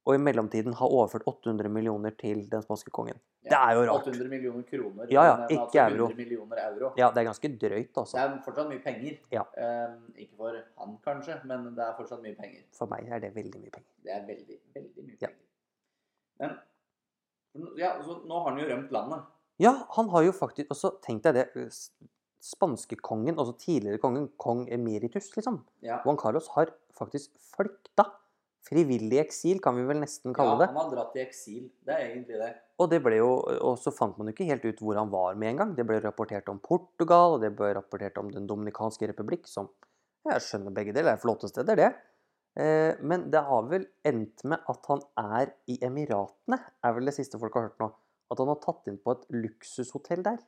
Speaker 2: og i mellomtiden har overført 800 millioner til den spanske kongen.
Speaker 1: Ja.
Speaker 2: Det er jo rart.
Speaker 1: 800 millioner kroner.
Speaker 2: Ja, ja,
Speaker 1: men altså
Speaker 2: ikke euro.
Speaker 1: 100 millioner euro.
Speaker 2: Ja, det er ganske
Speaker 1: Det
Speaker 2: drøyt, altså.
Speaker 1: er fortsatt mye penger.
Speaker 2: Ja.
Speaker 1: Ehm, ikke for han kanskje, men det er fortsatt mye penger.
Speaker 2: For meg er det veldig mye penger.
Speaker 1: Det er veldig, veldig mye
Speaker 2: Ja.
Speaker 1: penger. Men ja, så nå har han jo rømt landet.
Speaker 2: Ja, han har jo faktisk Og så tenk deg det. eh, s- Spanske kongen, altså tidligere kongen, kong emeritus, liksom.
Speaker 1: Ja.
Speaker 2: Juan Carlos har faktisk flykta. Frivillig eksil, kan vi vel nesten
Speaker 1: ja,
Speaker 2: kalle
Speaker 1: han
Speaker 2: det.
Speaker 1: har dratt i eksil. Det er egentlig det.
Speaker 2: Og, det ble jo, og så fant man jo ikke helt ut hvor han var med en gang. Det ble rapportert om Portugal, og det ble rapportert om Den dominikanske republikk, som jeg skjønner begge deler er flotte steder, det. Eh, Men det har vel endt med at han er i Emiratene, er vel det siste folk har hørt nå. At han har tatt inn på et luksushotell der.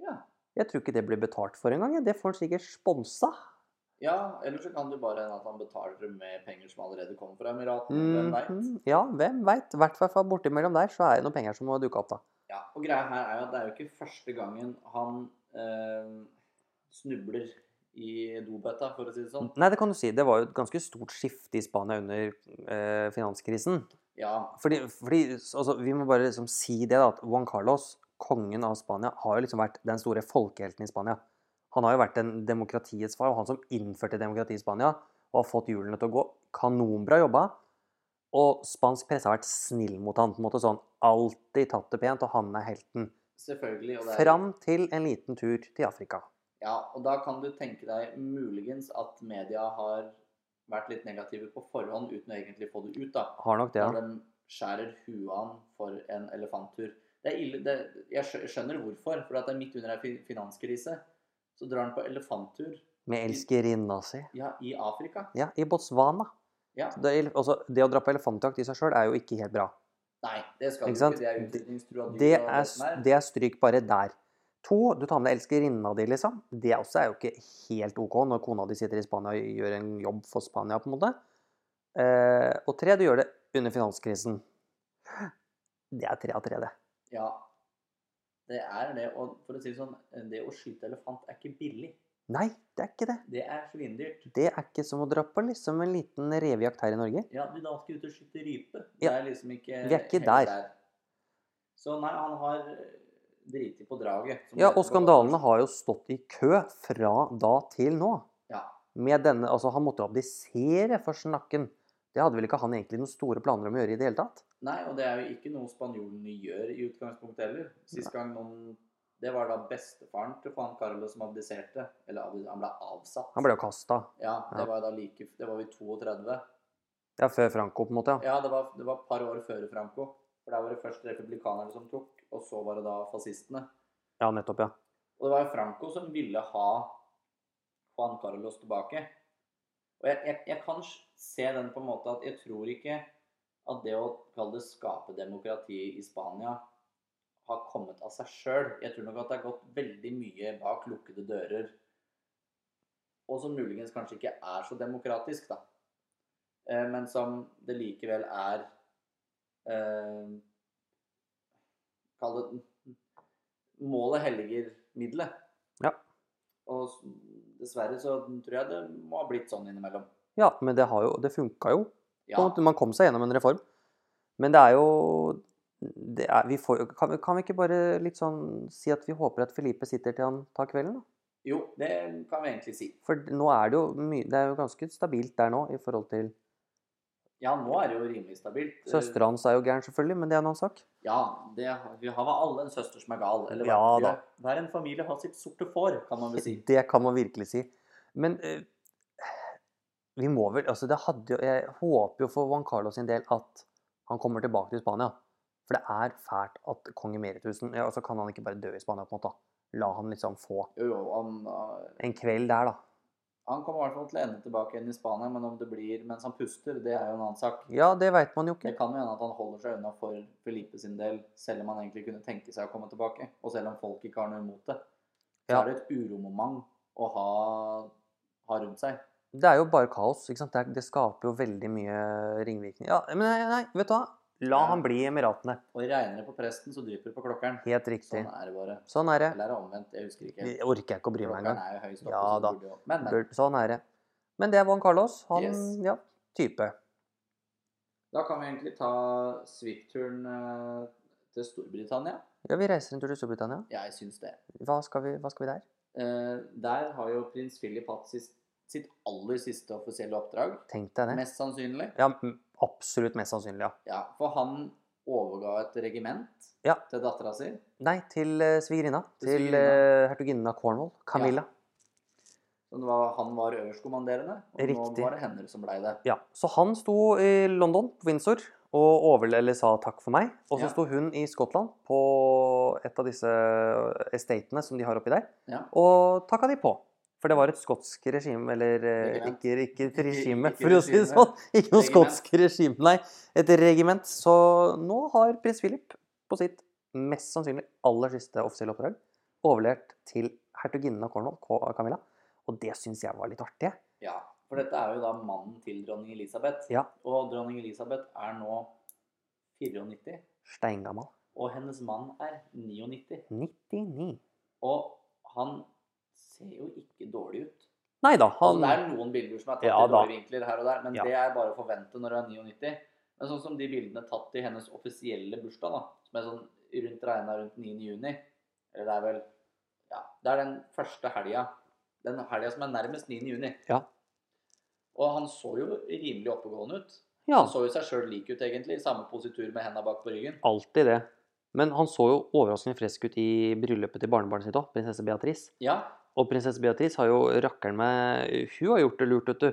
Speaker 1: Ja.
Speaker 2: Jeg tror ikke det blir betalt for engang. Det får han sikkert sponsa.
Speaker 1: Ja, eller så kan det bare hende at han betaler med penger som allerede kommer fra Emiratene. Hvem vet?
Speaker 2: Mhm. Ja, hvem veit. I hvert fall fra bortimellom der, så er det noen penger som må dukke opp, da.
Speaker 1: Ja, og greia her er jo at det er jo ikke første gangen han eh, snubler i dobøtta, for å si det sånn.
Speaker 2: Nei, det kan du si. Det var jo et ganske stort skifte i Spania under eh, finanskrisen.
Speaker 1: Ja,
Speaker 2: Fordi, fordi altså, Vi må bare liksom si det, da, at Juan Carlos, kongen av Spania, har jo liksom vært den store folkehelten i Spania. Han har jo vært en demokratiets far, og han som innførte demokrati i Spania, og har fått hjulene til å gå. Kanonbra jobba. Og spansk presse har vært snill mot han, på en måte sånn. Alltid tatt det pent, og han er helten.
Speaker 1: Selvfølgelig. Og det er,
Speaker 2: Fram til en liten tur til Afrika.
Speaker 1: ja, og da kan du tenke deg muligens at media har vært litt negative på forhånd uten å egentlig få det ut, da.
Speaker 2: Har nok det,
Speaker 1: Når
Speaker 2: ja.
Speaker 1: de skjærer huet av han for en elefanttur. Det er ille, det, jeg skjø- jeg skjønner hvorfor, for at det er midt under ei fi- finanskrise. Så drar han på elefanttur
Speaker 2: Med elskerinna si.
Speaker 1: ja, i Afrika.
Speaker 2: Ja, i Botswana.
Speaker 1: Ja.
Speaker 2: Det, er- altså, det å dra på elefantjakt i seg sjøl er jo ikke helt bra.
Speaker 1: Nei, det skal
Speaker 2: Ikke
Speaker 1: du
Speaker 2: sant?
Speaker 1: ikke. Det er utrydningstrua dyr.
Speaker 2: Det
Speaker 1: og
Speaker 2: er,
Speaker 1: alt som er.
Speaker 2: det er stryk bare der. To, du tar med deg elskerinna di, liksom. Det også er jo ikke helt OK når kona di sitter i Spania og gjør en jobb for Spania, på en måte. Eh, og tre, du gjør det under finanskrisen. Det er tre av tre, det.
Speaker 1: Ja. Det er det. Og for å si det sånn, det å skyte elefant er ikke billig.
Speaker 2: Nei, det er ikke det.
Speaker 1: Det er svindyrt.
Speaker 2: Det er ikke som å dra på liksom en liten revejakt her i Norge.
Speaker 1: Ja, du da skal ut og skyte rype. Det
Speaker 2: Ja.
Speaker 1: er liksom ikke
Speaker 2: Vi er ikke
Speaker 1: helt
Speaker 2: der.
Speaker 1: Så nei, han har eh, driti på draget. som
Speaker 2: Ja,
Speaker 1: det heter
Speaker 2: og
Speaker 1: på godt
Speaker 2: skandalene
Speaker 1: norsk.
Speaker 2: har jo stått i kø fra da til nå.
Speaker 1: Ja.
Speaker 2: Med denne, altså Han måtte jo abdisere for snakken. Det hadde vel ikke han egentlig noen store planer om å gjøre i det hele tatt?
Speaker 1: Nei, og det er jo ikke noe spanjolene gjør i utgangspunktet heller. Sist gang noen Det var da bestefaren til Juan Carlo som abdiserte. Eller abdi- han ble avsatt.
Speaker 2: Han ble jo kasta.
Speaker 1: Ja, det
Speaker 2: Ja.
Speaker 1: var da like Det var vi 32.
Speaker 2: Ja, før Franco, på en måte. ja.
Speaker 1: Ja, det var, det var et par år før Franco. For der var det først republikanerne som tok, og så var det da fascistene.
Speaker 2: Ja, nettopp, ja.
Speaker 1: Og det var jo Franco som ville ha Juan Carlos tilbake. Og jeg, jeg, jeg kan s- se den på en måte at jeg tror ikke at det å kalle det skape demokrati i Spania har kommet av seg sjøl. Jeg tror nok at det har gått veldig mye bak lukkede dører. Og som muligens kanskje ikke er så demokratisk, da. Eh, Men som det likevel er eh, Kall det Målet helliger middelet.
Speaker 2: Ja.
Speaker 1: Og s- dessverre så tror jeg det må ha blitt sånn innimellom.
Speaker 2: Ja, men det, har jo, det funka jo. på
Speaker 1: Ja.
Speaker 2: en måte. Man kom seg gjennom en reform. Men det er jo det er, vi får, jo- kan, vi- kan vi ikke bare litt sånn si at vi håper at Felipe sitter til han tar kvelden? da?
Speaker 1: Jo, det kan vi egentlig si.
Speaker 2: For nå er det jo mye Det er jo ganske stabilt der nå i forhold til
Speaker 1: Ja, nå er det jo rimelig stabilt. Eh,
Speaker 2: Søstera hans er jo gæren, selvfølgelig, men det er en annen sak.
Speaker 1: Ja, det, vi har vel alle en søster som er gal. Eller
Speaker 2: Ja,
Speaker 1: hver-
Speaker 2: da.
Speaker 1: Hver en familie har sitt sorte får, kan man vel si.
Speaker 2: Det kan man virkelig si. Men eh, vi må vel altså det hadde jo, Jeg håper jo for Juan Carlos sin del at han kommer tilbake til Spania. For det er fælt at kong emeritusen ja, altså Kan han ikke bare dø i Spania? på en måte? da? La han liksom få
Speaker 1: Jo, jo, han, øh,
Speaker 2: en kveld der, da.
Speaker 1: han kommer i hvert fall til å ende tilbake igjen i Spania, men om det blir mens han puster, det er jo en annen sak.
Speaker 2: Ja, det veit man jo
Speaker 1: Det
Speaker 2: ikke.
Speaker 1: kan jo hende at han holder seg unna for Felipe sin del, selv om han egentlig kunne tenke seg å komme tilbake. Og selv om folk ikke har noe imot det. Så
Speaker 2: Ja.
Speaker 1: er det et uromoment å ha, ha rundt seg.
Speaker 2: Det er jo bare kaos. ikke sant? Det, er, det skaper jo veldig mye ringvirkninger. Ja, men nei, nei, vet du hva? La
Speaker 1: Ja.
Speaker 2: han bli i Emiratene.
Speaker 1: Og regner det på presten, så dryper det på klokkeren.
Speaker 2: Helt riktig.
Speaker 1: Sånn er det bare.
Speaker 2: Sånn er det.
Speaker 1: Eller er det omvendt? Jeg husker ikke.
Speaker 2: Jeg orker jeg ikke å bry meg engang.
Speaker 1: Klokkeren er jo høyest oppe,
Speaker 2: Ja,
Speaker 1: så det
Speaker 2: da.
Speaker 1: burde jo Men, men.
Speaker 2: Bør- Sånn er det. Men det er Juan Carlos. Han,
Speaker 1: Yes.
Speaker 2: ja, type.
Speaker 1: Da kan vi egentlig ta svippturen eh, til Storbritannia.
Speaker 2: Ja, vi reiser en tur til Storbritannia.
Speaker 1: Jeg syns det.
Speaker 2: Hva skal vi, hva skal vi der?
Speaker 1: Eh, Der har jo prins Philip hatt sitt, sitt aller siste offisielle oppdrag.
Speaker 2: Tenk deg det.
Speaker 1: Mest sannsynlig.
Speaker 2: Ja, m- absolutt mest sannsynlig, ja.
Speaker 1: Ja, For han overga et regiment
Speaker 2: Ja.
Speaker 1: til dattera si.
Speaker 2: Nei, til eh, svigerinna.
Speaker 1: Til
Speaker 2: Til
Speaker 1: svigerinna.
Speaker 2: eh, hertuginnen av Cornwall. Camilla.
Speaker 1: Så det var, han var øverstkommanderende, og
Speaker 2: Riktig.
Speaker 1: nå var det henne som blei det.
Speaker 2: Ja. Så han sto i London, på Windsor, og overle eller sa takk for meg. Og
Speaker 1: Ja.
Speaker 2: så sto hun i Skottland, på et av disse estatene som de har oppi der,
Speaker 1: Ja.
Speaker 2: og takka de på. For det var et skotsk regime, eller eh,
Speaker 1: Regiment.
Speaker 2: ikke, ikke et regime,
Speaker 1: ikke
Speaker 2: for å si det
Speaker 1: regime.
Speaker 2: sånn. Ikke noe
Speaker 1: Regiment.
Speaker 2: skotsk regime, nei. Et regiment. Så nå har prins Philip på sitt mest sannsynlig aller siste offisielle oppdrag overlevert til hertuginnen av Cornwall, K- Camilla. Og det syns jeg var litt artig.
Speaker 1: ja. For dette er jo da mannen til dronning Elisabeth.
Speaker 2: Ja.
Speaker 1: Og dronning Elisabeth er nå 94,
Speaker 2: Steingammal.
Speaker 1: og hennes mann er 99.
Speaker 2: 99.
Speaker 1: Og han ser jo ikke dårlig ut.
Speaker 2: Nei da,
Speaker 1: Altså,
Speaker 2: han
Speaker 1: det er noen bilder som er tatt
Speaker 2: Ja,
Speaker 1: i
Speaker 2: da.
Speaker 1: dårlige vinkler her og der, men
Speaker 2: Ja.
Speaker 1: det er bare å forvente når du er 99. Men sånn som de bildene tatt i hennes offisielle bursdag, da, som er sånn rundt regna rundt 9. juni Eller det er vel Ja, det er den første helga. Den helga som er nærmest 9. juni.
Speaker 2: Ja.
Speaker 1: Og han så jo rimelig oppegående ut.
Speaker 2: Ja,
Speaker 1: Han så jo seg sjøl lik ut, egentlig. i Samme positur med henda bak på ryggen.
Speaker 2: alltid det. Men han så jo overraskende frisk ut i bryllupet til barnebarnet sitt òg, prinsesse Beatrice.
Speaker 1: Ja,
Speaker 2: Og prinsesse Beatrice har jo rakkeren med Hun har gjort det lurt, vet du.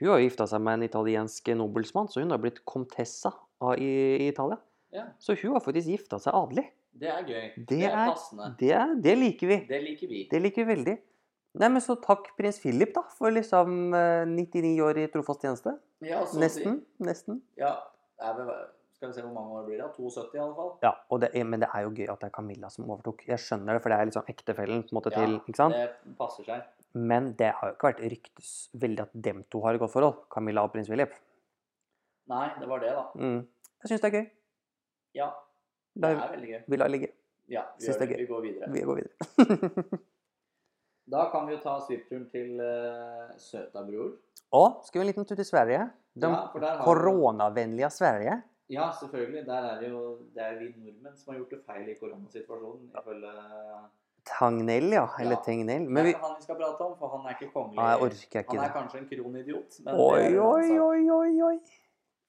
Speaker 2: Hun har jo gifta seg med en italiensk nobelsmann, så hun har blitt komtessa av, i, i Italia.
Speaker 1: Ja.
Speaker 2: Så hun har faktisk gifta seg adelig.
Speaker 1: det er gøy.
Speaker 2: Det
Speaker 1: det er
Speaker 2: er-
Speaker 1: passende.
Speaker 2: Det, det liker vi.
Speaker 1: Det liker vi.
Speaker 2: Det liker vi veldig. Nei, men så takk prins Philip, da, for liksom eh, 99 år i trofast tjeneste.
Speaker 1: Ja, så å si.
Speaker 2: Nesten. Nesten.
Speaker 1: Ja, det er vel, skal vi se hvor mange år blir det? 72 i alle fall.
Speaker 2: Ja, og det er, Men det er jo gøy at det er Camilla som overtok. Jeg skjønner det, for det er liksom ektefellen på en måte
Speaker 1: Ja,
Speaker 2: til. ikke sant?
Speaker 1: Det passer seg.
Speaker 2: Men det har jo ikke vært ryktes veldig at dem to har et godt forhold. Camilla og prins Philip.
Speaker 1: Nei, det var det, da.
Speaker 2: Mm. Jeg syns det er gøy.
Speaker 1: Ja, det
Speaker 2: La,
Speaker 1: er veldig gøy.
Speaker 2: vi lar ligge.
Speaker 1: Ja, vi,
Speaker 2: Synes
Speaker 1: gjør
Speaker 2: det er
Speaker 1: det.
Speaker 2: gøy.
Speaker 1: vi går videre.
Speaker 2: Vi går videre.
Speaker 1: Da kan vi jo ta svippturen til uh, Søtabror.
Speaker 2: og skal vi en liten tur til Sverige? De
Speaker 1: Ja, for der har vi-
Speaker 2: koronavennlige Sverige.
Speaker 1: Ja, selvfølgelig. Der er det jo, det er jo vi nordmenn som har gjort det feil i koronasituasjonen. Ifølge
Speaker 2: Tangnell, ja. Eller
Speaker 1: Ja.
Speaker 2: Tegnell.
Speaker 1: Det
Speaker 2: Men
Speaker 1: er
Speaker 2: vi
Speaker 1: ikke han vi skal prate om, for han er ikke kongelig.
Speaker 2: Nei, jeg orker ikke
Speaker 1: han er
Speaker 2: det.
Speaker 1: kanskje en kronidiot. men det
Speaker 2: Oi,
Speaker 1: er en annen
Speaker 2: oi,
Speaker 1: sak.
Speaker 2: oi, oi, oi.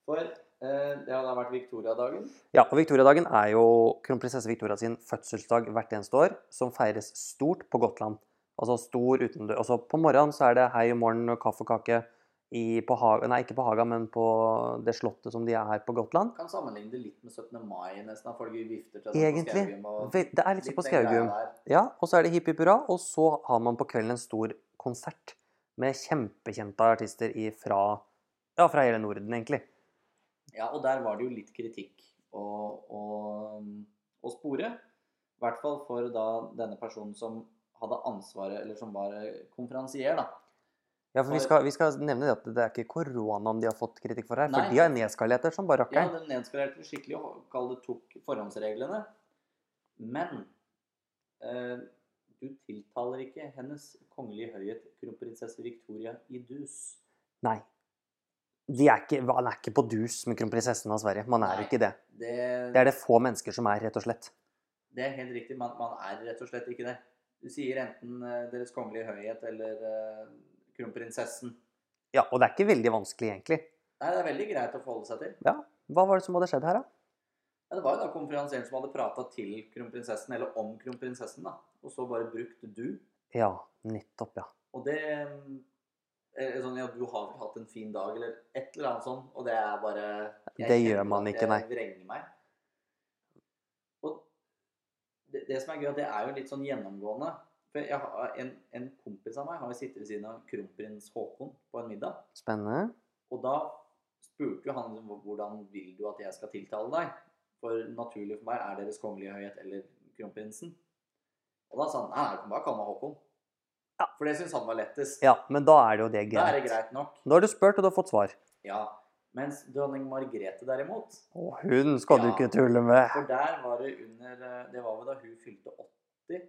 Speaker 1: For eh, det har da vært Victoria-dagen.
Speaker 2: Ja, og Victoriadagen er jo kronprinsesse Victoria sin fødselsdag hvert eneste år, som feires stort på Gotland. Altså stor utendørs. Altså på morgenen så er det hei om morgenen og kaffe og kake i, på hagen, nei ikke på hagen, men på det slottet som de er her på Gotland.
Speaker 1: Kan sammenligne det litt med 17. mai, nesten. at Folk vifter til
Speaker 2: Egentlig.
Speaker 1: Og,
Speaker 2: Vel, Det er litt sånn på
Speaker 1: den greia
Speaker 2: Skaugum.
Speaker 1: der.
Speaker 2: Ja, og så er det hipp hipp hurra, og så har man på kvelden en stor konsert med kjempekjente artister i, fra, ja, fra hele Norden, egentlig.
Speaker 1: Ja, og der var det jo litt kritikk å, å, å spore. I hvert fall for da denne personen som hadde ansvaret, eller som var eh, konferansier, da.
Speaker 2: Ja, for vi
Speaker 1: Og-
Speaker 2: skal, vi skal nevne det at det er ikke koronaen de har fått kritikk for her,
Speaker 1: Nei.
Speaker 2: for de har nedskalert det som bare
Speaker 1: Ja,
Speaker 2: rakkeren.
Speaker 1: den nedskalerte skikkelig og kall det tok forhåndsreglene. Men eh, du tiltaler ikke Hennes Kongelige Høyhet kronprinsesse Victoria i dus.
Speaker 2: Nei. De er ikke, han er ikke på dus med kronprinsessen av Sverige. Man er
Speaker 1: Nei.
Speaker 2: ikke det.
Speaker 1: Det,
Speaker 2: Det er det få mennesker som er, rett og slett.
Speaker 1: Det er helt riktig. Man, man er rett og slett ikke det. Du sier enten eh, Deres Kongelige Høyhet eller eh, Kronprinsessen.
Speaker 2: Ja, Og det er ikke veldig vanskelig, egentlig.
Speaker 1: Nei, det er veldig greit å forholde seg til.
Speaker 2: Hva var det som hadde skjedd her, da?
Speaker 1: Ja, det var jo da konferansieren som hadde prata til kronprinsessen, eller om kronprinsessen, da. Og så bare brukt du.
Speaker 2: Ja, nettopp, ja.
Speaker 1: Og det eh, er sånn, Ja, du har vel hatt en fin dag, eller et eller annet sånn, og det er bare jeg
Speaker 2: Det
Speaker 1: kjenner
Speaker 2: gjør man
Speaker 1: at
Speaker 2: ikke, nei.
Speaker 1: Jeg vrenger meg. Og det, det som er gøy, at det er jo litt sånn gjennomgående. For jeg har, en, en kompis av meg har jo sittet ved siden av kronprins Haakon på en middag.
Speaker 2: Spennende.
Speaker 1: Og da spurte jo han liksom, hvordan vil du at jeg skal tiltale deg? For naturlig for meg er Deres Kongelige Høyhet eller Kronprinsen. Og da sa han nei, du kan bare kalle meg Håkon.
Speaker 2: Ja.
Speaker 1: For det syns han var lettest.
Speaker 2: Ja, men da er det jo det
Speaker 1: Da er det
Speaker 2: greit.
Speaker 1: greit nok.
Speaker 2: Nå har du spurt, og du har fått svar.
Speaker 1: Ja. Mens dronning Margrethe derimot,
Speaker 2: Å, hun skal du
Speaker 1: Ja.
Speaker 2: ikke tulle med.
Speaker 1: for der var det under eh, Det var vel da hun fylte 80?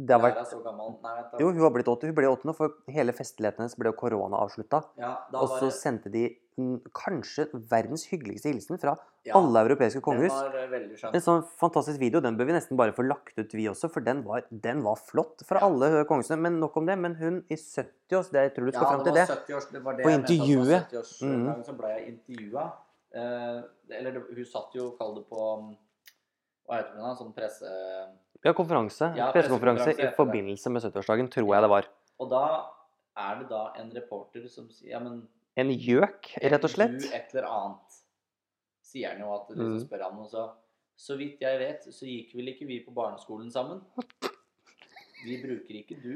Speaker 2: Det har
Speaker 1: Læra
Speaker 2: vært...
Speaker 1: så gammel. Nei, vent da.
Speaker 2: Jo, hun har blitt 80. Hun ble 80 nå, for hele festligheten hennes ble jo koronaavslutta.
Speaker 1: Ja, da
Speaker 2: Og
Speaker 1: var
Speaker 2: så
Speaker 1: det-
Speaker 2: sendte de mm, kanskje verdens hyggeligste hilsen fra
Speaker 1: ja,
Speaker 2: alle europeiske kongehus.
Speaker 1: Den var eh, veldig skjønn.
Speaker 2: En sånn fantastisk video, den bør vi nesten bare få lagt ut vi også, for den var, den var flott fra
Speaker 1: Ja.
Speaker 2: alle kongesene. Men nok om det, men hun i 70 års, det jeg tror du skal fram til det.
Speaker 1: Ja, det var 70 års, det var det
Speaker 2: På
Speaker 1: jeg mente at det var
Speaker 2: intervjuet. Mm.
Speaker 1: 70-årsdagen, Så ble jeg intervjua. Eh, eller det- hun satt jo, kall det på um, Hva heter det, da? Sånn presse...
Speaker 2: Ja, konferanse,
Speaker 1: Ja, pressekonferanse
Speaker 2: pressekonferanse i
Speaker 1: etter det.
Speaker 2: forbindelse med 70-årsdagen, tror jeg det var.
Speaker 1: Og da er det da en reporter som sier Ja, men
Speaker 2: En gjøk, rett og slett.
Speaker 1: Du et eller annet, sier han jo at liksom
Speaker 2: Mm.
Speaker 1: spør han og så Så vidt jeg vet, så gikk vel ikke vi på barneskolen sammen? Vi bruker ikke du.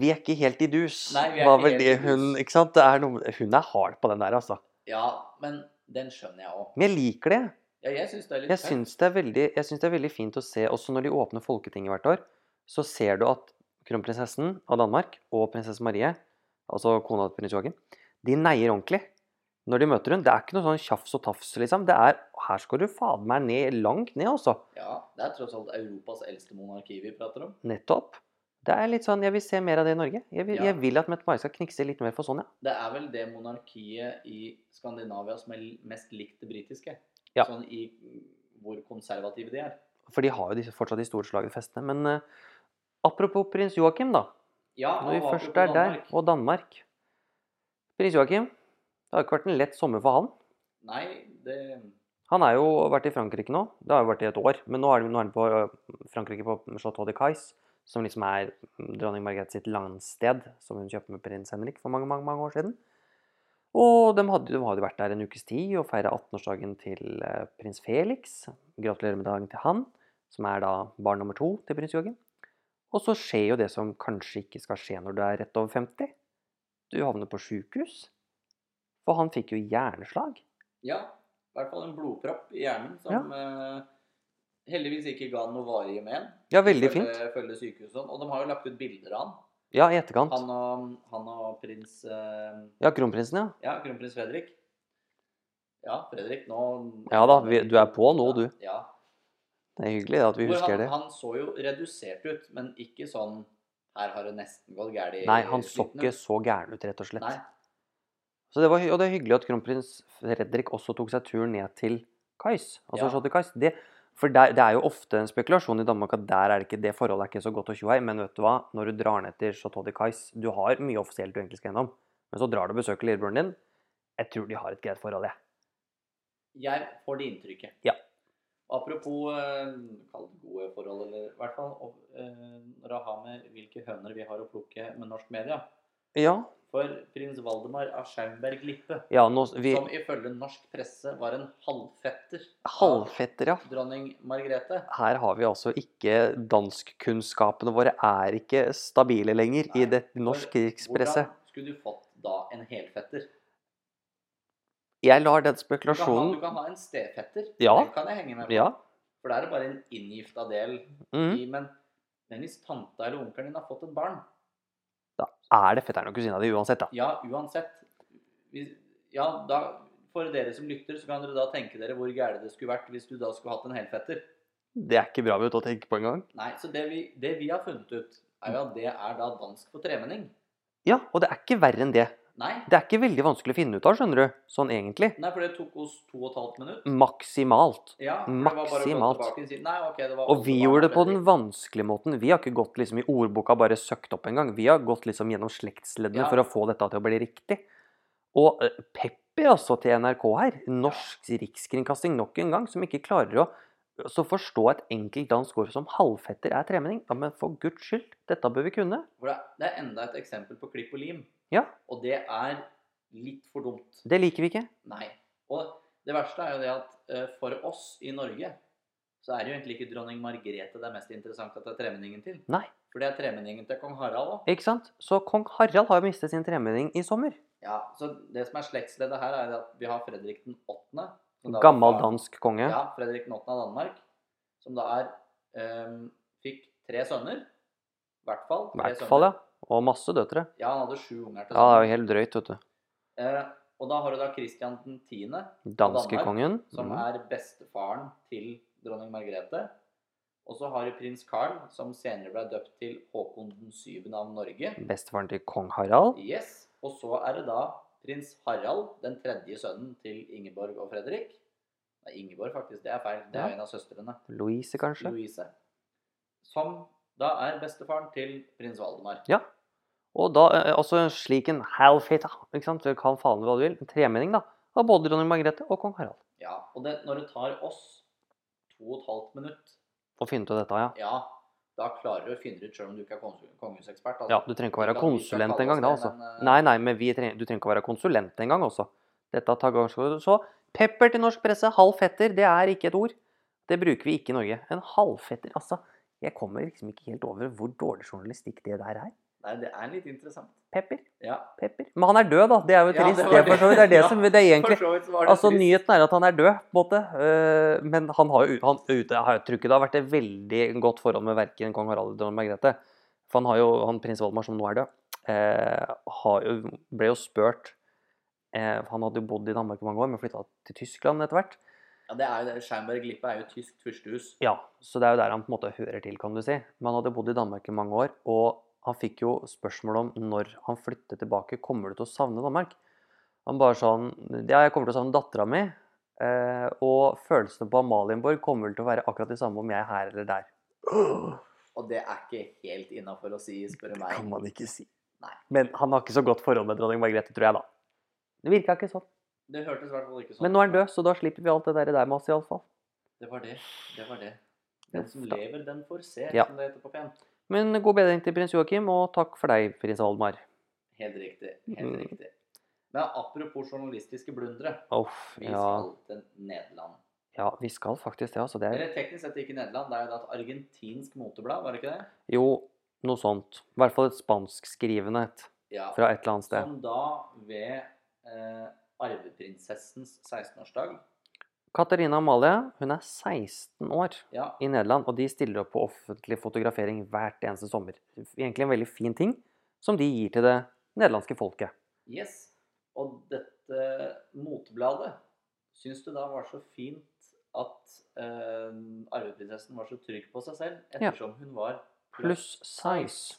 Speaker 2: Vi er ikke helt i dus,
Speaker 1: Nei, vi er
Speaker 2: var
Speaker 1: ikke
Speaker 2: vel
Speaker 1: helt
Speaker 2: det
Speaker 1: i dus.
Speaker 2: hun Ikke sant? Det er noe, hun er hard på den der, altså.
Speaker 1: Ja, men den skjønner jeg òg.
Speaker 2: Men jeg liker det.
Speaker 1: Ja, jeg syns det er litt
Speaker 2: Jeg syns det, er veldig, jeg syns det er veldig fint å se, også når de åpner Folketinget hvert år, så ser du at kronprinsessen av Danmark og prinsesse Marie, altså kona til prins Joakim, de neier ordentlig når de møter henne. Det er ikke noe sånn tjafs og tafs, liksom. Det er Her skal du fader meg ned, langt ned, altså.
Speaker 1: Ja, det er tross alt Europas eldste monarki vi prater om.
Speaker 2: Nettopp. Det er litt sånn Jeg vil se mer av det i Norge. Jeg vil,
Speaker 1: Ja.
Speaker 2: jeg vil at Mette-Marit skal knikse litt mer for sånn, ja.
Speaker 1: Det er vel det monarkiet i Skandinavia som er mest likt det britiske.
Speaker 2: Ja.
Speaker 1: Sånn i hvor konservative de er.
Speaker 2: For de har jo disse, fortsatt de store slagene festene. Men eh, apropos prins Joakim, da.
Speaker 1: Ja,
Speaker 2: Når vi
Speaker 1: og
Speaker 2: først
Speaker 1: apropos
Speaker 2: er der,
Speaker 1: Danmark.
Speaker 2: og Danmark Prins Joakim, det har ikke vært en lett sommer for han.
Speaker 1: Nei, det
Speaker 2: Han er jo vært i Frankrike nå. Det har jo vært i et år. Men nå er det- nå er han på øh, Frankrike på Chateau de Cais, som liksom er dronning Margrethe sitt landsted, som hun kjøpte med prins Henrik for mange, mange, mange år siden. Og de hadde, de hadde vært der en ukes tid og feira 18-årsdagen til eh, prins Felix. Gratulerer med dagen til han, som er da barn nummer to til prins Joachim. Og så skjer jo det som kanskje ikke skal skje når du er rett over 50. Du havner på sjukehus. For han fikk jo hjerneslag.
Speaker 1: Ja, i hvert fall en blodpropp i hjernen som eh, heldigvis ikke ga noe varige men.
Speaker 2: Ja, veldig
Speaker 1: Følge-
Speaker 2: fint.
Speaker 1: Følge sykehuset og sånn. Og de har jo lagt ut bilder av han.
Speaker 2: Ja, i etterkant.
Speaker 1: Han og, han og prins eh,
Speaker 2: Ja, kronprinsen, ja.
Speaker 1: Ja, kronprins Fredrik. Ja, Fredrik, nå
Speaker 2: Ja da, vi- du er på nå, du.
Speaker 1: Ja.
Speaker 2: Det er hyggelig at vi
Speaker 1: Hvor
Speaker 2: husker
Speaker 1: han,
Speaker 2: det.
Speaker 1: han så jo redusert ut, men ikke sånn Her har det nesten gått galt i
Speaker 2: Nei, han så
Speaker 1: skrittene».
Speaker 2: ikke så gæren ut, rett og
Speaker 1: Nei.
Speaker 2: slett. Så det var, hy- og det er hyggelig at kronprins Fredrik også tok seg turen ned til Kais. Altså
Speaker 1: Ja.
Speaker 2: Chateau de Kais. Det, for der, det er jo ofte en spekulasjon i Danmark at der er det ikke det forholdet er ikke så godt å tjoe i. Men vet du hva, når du drar ned til Chateau de Kais Du har mye offisielt du egentlig skal gjennom, men så drar du og besøker lillebroren din. Jeg tror de har et greit forhold, jeg.
Speaker 1: Jeg får det inntrykket.
Speaker 2: Ja.
Speaker 1: Apropos eh, kall det gode forhold, eller i hvert fall og, eh, når det har med hvilke høner vi har å plukke med norsk media.
Speaker 2: Ja,
Speaker 1: For prins Valdemar av Schaumberg Lippe,
Speaker 2: ja nå, vi,
Speaker 1: som ifølge norsk presse var en halvfetter
Speaker 2: halvfetter, ja.
Speaker 1: av dronning Margrethe
Speaker 2: Her har vi altså ikke Danskkunnskapene våre er ikke stabile lenger i
Speaker 1: Nei,
Speaker 2: det norsk
Speaker 1: for
Speaker 2: rikspresse.
Speaker 1: Hvordan skulle du fått da en helfetter?
Speaker 2: Jeg lar den
Speaker 1: Du kan, ha, du
Speaker 2: spekulasjonen
Speaker 1: kan ha en stefetter.
Speaker 2: Ja.
Speaker 1: Det kan jeg henge med på.
Speaker 2: Ja.
Speaker 1: For da er det bare en inngifta del
Speaker 2: Mm.
Speaker 1: i Men men hvis tanta eller onkelen din har fått et barn
Speaker 2: Da er det fetteren og kusina di uansett, da.
Speaker 1: Ja, uansett. Hvis, ja, da, for dere som lytter, så kan dere da tenke dere hvor gære det skulle vært hvis du da skulle hatt en helfetter.
Speaker 2: Det er ikke bra vet, du, å tenke på engang.
Speaker 1: Nei, så det vi, det vi har funnet ut, er jo at det er da dansk for tremenning.
Speaker 2: Ja, og det er ikke verre enn det.
Speaker 1: Nei,
Speaker 2: Det er ikke veldig vanskelig å finne ut av, skjønner du. Sånn egentlig.
Speaker 1: nei for det tok oss to og et halvt minutt.
Speaker 2: Maksimalt.
Speaker 1: Ja, for det var bare å gå
Speaker 2: Mm. Maksimalt.
Speaker 1: tilbake og si, Nei, ok, det var
Speaker 2: Og
Speaker 1: alle
Speaker 2: vi
Speaker 1: barna
Speaker 2: gjorde det på
Speaker 1: Fredrik.
Speaker 2: den vanskelige måten. Vi har ikke gått liksom i ordboka bare søkt opp engang. Vi har gått liksom gjennom slektsleddene
Speaker 1: Ja.
Speaker 2: for å få dette til å bli riktig. Og eh, pepper altså til NRK her. Norsk rikskringkasting nok en gang, som ikke klarer å så forstå et enkelt dansk ord som halvfetter er tremenning. Ja, men for guds skyld, dette bør vi kunne.
Speaker 1: For det- Det er enda et eksempel på klipp og lim.
Speaker 2: Ja.
Speaker 1: Og det er litt for dumt.
Speaker 2: Det liker vi ikke.
Speaker 1: Nei. Og det verste er jo det at eh, for oss i Norge så er det jo egentlig ikke dronning Margrethe det er mest interessant at det er tremenningen til.
Speaker 2: Nei. Eh.
Speaker 1: For det er tremenningen til kong Harald òg.
Speaker 2: Ikke sant? Så kong Harald har jo mistet sin tremenning i sommer.
Speaker 1: Ja, så det som er slektsleddet her, er det at vi har Fredrik den 8.
Speaker 2: Gammel dansk konge.
Speaker 1: Ja, Fredrik den 8. av Danmark. Som da er ehm, Fikk tre sønner. I hvert fall.
Speaker 2: I hvert fall, ja. Og masse døtre.
Speaker 1: ja. Han hadde sju unger til
Speaker 2: Ja, det er jo
Speaker 1: sammen.
Speaker 2: helt drøyt, vet du.
Speaker 1: Eh, og da har du da Kristian den 10. Danmark,
Speaker 2: Danskekongen.
Speaker 1: som
Speaker 2: Mm.
Speaker 1: er bestefaren til dronning Margrethe. Og så har du prins Carl, som senere ble døpt til Håkon den syvende av Norge.
Speaker 2: Bestefaren til kong Harald.
Speaker 1: Yes. Og så er det da prins Harald, den tredje sønnen til Ingeborg og Fredrik. Nei, Ingeborg, faktisk. Det er feil. Det
Speaker 2: Ja.
Speaker 1: er en av søstrene.
Speaker 2: Louise, kanskje.
Speaker 1: Louise. Som da er bestefaren til prins Valdemar.
Speaker 2: Ja. Og da, eh, altså slik en halvfeta, ikke sant, du kan faen hva du vil, en tremenning da, av både dronning Margrethe og kong Harald.
Speaker 1: Ja, Og det, når det tar oss to og et halvt minutt,
Speaker 2: Å finne ut av dette, ja.
Speaker 1: ja, da klarer du å finne det ut sjøl om du ikke er konge- kongehusekspert. altså.
Speaker 2: Ja, du trenger ikke å være
Speaker 1: Ikke at vi skal
Speaker 2: konsulent
Speaker 1: kalle
Speaker 2: engang da,
Speaker 1: oss det,
Speaker 2: altså.
Speaker 1: men, eh,
Speaker 2: Nei, nei, men vi trenger, du trenger ikke å være konsulent engang også. Dette tar ganske så. Pepper til norsk presse, halvfetter, det er ikke et ord. Det bruker vi ikke i Norge. En halvfetter, altså, jeg kommer liksom ikke helt over hvor dårlig journalistikk det der er.
Speaker 1: Nei, det er litt interessant.
Speaker 2: Pepper,
Speaker 1: Ja.
Speaker 2: pepper. Men han er død da, det er
Speaker 1: Ja,
Speaker 2: jo
Speaker 1: det
Speaker 2: trist.
Speaker 1: var
Speaker 2: det, er for så vidt- det er det
Speaker 1: Ja,
Speaker 2: som, det er egentlig,
Speaker 1: For så vidt så var det
Speaker 2: Altså,
Speaker 1: trist.
Speaker 2: Nyheten er at han er død, på en måte. Eh, men han har jo han, ute, jeg har jo- tror ikke det har vært et veldig godt forhold med verken kong Harald eller dronning Margrethe. For han har jo, han prins Valdemar, som nå er død, eh, har jo, ble jo spurt eh, Han hadde jo bodd i Danmark i mange år, men flytta til Tyskland etter hvert.
Speaker 1: Ja, det er jo det. Scheinberg Lippe er jo et tysk fyrstehus.
Speaker 2: Ja, Så det er jo der han på en måte hører til, kan du si. Men han hadde bodd i Danmark i mange år, og han fikk jo spørsmål om når han flytter tilbake, kommer du til å savne Danmark? Han bare sånn Ja, jeg kommer til å savne dattera mi. Eh, og følelsene på Amalienborg kommer vel til å være akkurat de samme om jeg er her eller der. Det
Speaker 1: Og det er ikke helt innafor å si, spør du
Speaker 2: kan
Speaker 1: meg.
Speaker 2: man ikke si.
Speaker 1: Nei.
Speaker 2: Men han har ikke så godt forhold med dronning Margrethe, tror jeg, da. Det virka ikke sånn.
Speaker 1: Det hørtes i hvert fall ikke sånn
Speaker 2: Men nå er han død, så da slipper vi alt det der, der med oss, iallfall.
Speaker 1: Det var det. Det var det. Den som
Speaker 2: Da-
Speaker 1: lever, den får se,
Speaker 2: Ja.
Speaker 1: som det heter på pent.
Speaker 2: Men god bedring til prins Joakim, og takk for deg, prins Valdemar.
Speaker 1: Helt riktig.
Speaker 2: Mm.
Speaker 1: Helt riktig. Men apropos journalistiske blundere.
Speaker 2: Uff,
Speaker 1: Vi
Speaker 2: ja.
Speaker 1: skal til Nederland.
Speaker 2: ja, vi skal faktisk det, altså. Det er
Speaker 1: Eller teknisk sett ikke Nederland, det er jo da et argentinsk moteblad, var det ikke det?
Speaker 2: jo noe sånt. I hvert fall et spanskskrivende et
Speaker 1: Ja.
Speaker 2: fra et eller annet sted.
Speaker 1: Som da ved eh, arveprinsessens 16-årsdag
Speaker 2: Katarina Amalie, hun er 16 år
Speaker 1: ja,
Speaker 2: i Nederland, og de stiller opp på offentlig fotografering hvert eneste sommer. Egentlig en veldig fin ting som de gir til det nederlandske folket.
Speaker 1: Yes. Og dette motebladet syns du da var så fint at eh, arveprinsessen var så trygg på seg selv,
Speaker 2: Ja.
Speaker 1: ettersom hun var
Speaker 2: Pluss size.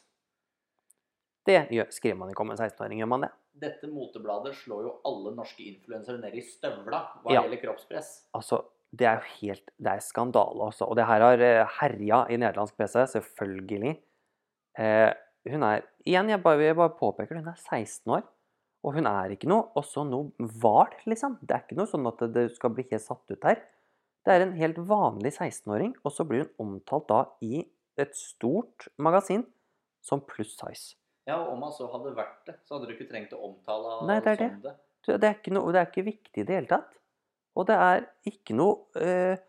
Speaker 2: Det gjør, skriver man ikke om en 16-åring, gjør man det?
Speaker 1: Dette motebladet slår jo alle norske influensere ned i støvla hva
Speaker 2: Ja.
Speaker 1: gjelder kroppspress.
Speaker 2: Altså, det er jo helt Det er skandale, altså. Og det her har eh, herja i nederlandsk presse, selvfølgelig. Eh, hun er Igjen, jeg bare, jeg bare påpeker det, hun er 16 år. Og hun er ikke noe også noe hval, liksom. Det er ikke noe sånn at det skal bli helt satt ut her. Det er en helt vanlig 16-åring, og så blir hun omtalt da i et stort magasin som pluss size.
Speaker 1: Ja, og om han så hadde vært det, så hadde du ikke trengt å omtale han
Speaker 2: Nei, det er
Speaker 1: som det.
Speaker 2: Du, Det er ikke, noe, det er ikke viktig i det hele tatt. Og det er ikke noe eh,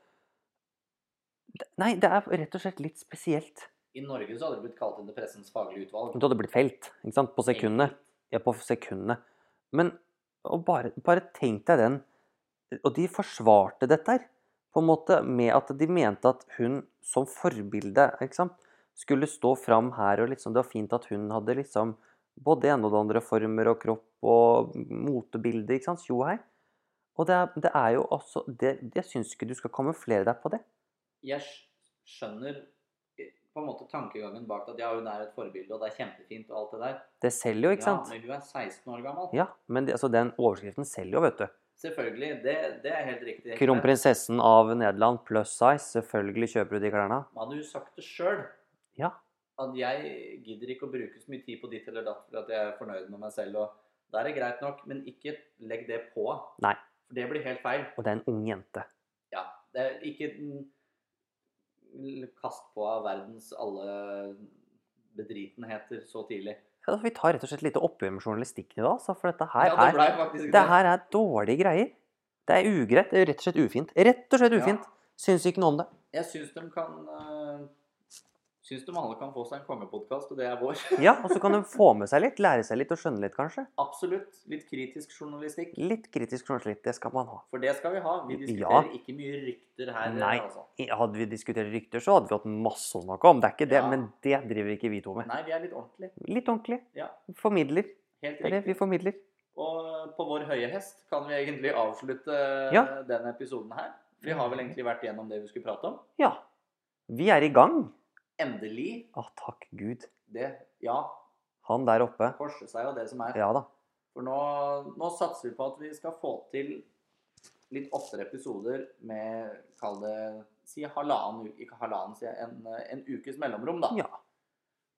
Speaker 2: det- Nei, det er rett og slett litt spesielt.
Speaker 1: I Norge så hadde det blitt kalt inn til pressens faglige utvalg.
Speaker 2: Du hadde blitt felt ikke sant? på sekundene. Ja, på sekundene. Men og bare, bare tenk deg den Og de forsvarte dette her på en måte med at de mente at hun som forbilde ikke sant? skulle stå fram her, og liksom, det var fint at hun hadde liksom både det ene og det andre former og kropp og motebilde, ikke sant, tjo og hei. Og det er, det er jo også det, Jeg syns ikke du skal kamuflere deg på det.
Speaker 1: Jeg sk- skjønner eh, på en måte tankegangen bak at ja, hun er et forbilde, og det er kjempefint og alt det der.
Speaker 2: Det selger jo, ikke sant?
Speaker 1: Ja, men hun er 16 år gammel.
Speaker 2: Ja, men det, altså, den overskriften selger jo, vet du.
Speaker 1: Selvfølgelig, det, det er helt riktig.
Speaker 2: Kronprinsessen av Nederland pluss size. Selvfølgelig kjøper du de klærne.
Speaker 1: Men Hadde hun sagt det sjøl,
Speaker 2: Ja.
Speaker 1: at jeg gidder ikke å bruke så mye tid på ditt eller datt for at jeg er fornøyd med meg selv, og da er det greit nok, men ikke legg det på.
Speaker 2: Nei.
Speaker 1: For det blir helt feil.
Speaker 2: Og det er en ung jente.
Speaker 1: ja, det er ikke den- kast på av verdens alle bedritenheter så tidlig.
Speaker 2: Ja, vi tar rett og slett et lite oppgjør med journalistikken i dag, altså, for dette her,
Speaker 1: Ja, det
Speaker 2: er,
Speaker 1: blei faktisk
Speaker 2: det her er dårlige greier. Det er ugreit. Det er rett og slett ufint. Rett og slett
Speaker 1: Ja.
Speaker 2: ufint. Syns ikke noe om det.
Speaker 1: Jeg syns de kan eh, Syns de alle kan få seg en kongepodkast, og det er vår.
Speaker 2: Ja, Og så kan de få med seg litt, lære seg litt og skjønne litt, kanskje.
Speaker 1: Absolutt. Litt kritisk journalistikk.
Speaker 2: Litt kritisk journalist, det skal man ha.
Speaker 1: For det skal vi ha. Vi
Speaker 2: Ja.
Speaker 1: diskuterer ikke mye rykter her.
Speaker 2: Nei.
Speaker 1: Altså.
Speaker 2: I- Hadde vi diskutert rykter, så hadde vi hatt masse å snakke om. Det er ikke det,
Speaker 1: Ja.
Speaker 2: men det driver ikke vi to med.
Speaker 1: Nei, vi er litt ordentlige.
Speaker 2: Litt ordentlig.
Speaker 1: Ja,
Speaker 2: Formidler.
Speaker 1: helt
Speaker 2: Det er det
Speaker 1: riktig.
Speaker 2: vi formidler.
Speaker 1: Og eh, på vår høye hest kan vi egentlig avslutte eh,
Speaker 2: Ja.
Speaker 1: denne episoden her. Vi har vel egentlig vært gjennom det vi skulle prate om.
Speaker 2: Ja. Vi er i gang.
Speaker 1: Endelig.
Speaker 2: Å, takk Gud.
Speaker 1: Det, ja,
Speaker 2: Han der oppe.
Speaker 1: korse seg jo det som er.
Speaker 2: Ja da.
Speaker 1: For nå, nå satser vi på at vi skal få til litt oftere episoder med, kall det, si halvannen uke, ikke halvannen, si en, en ukes mellomrom da.
Speaker 2: Ja.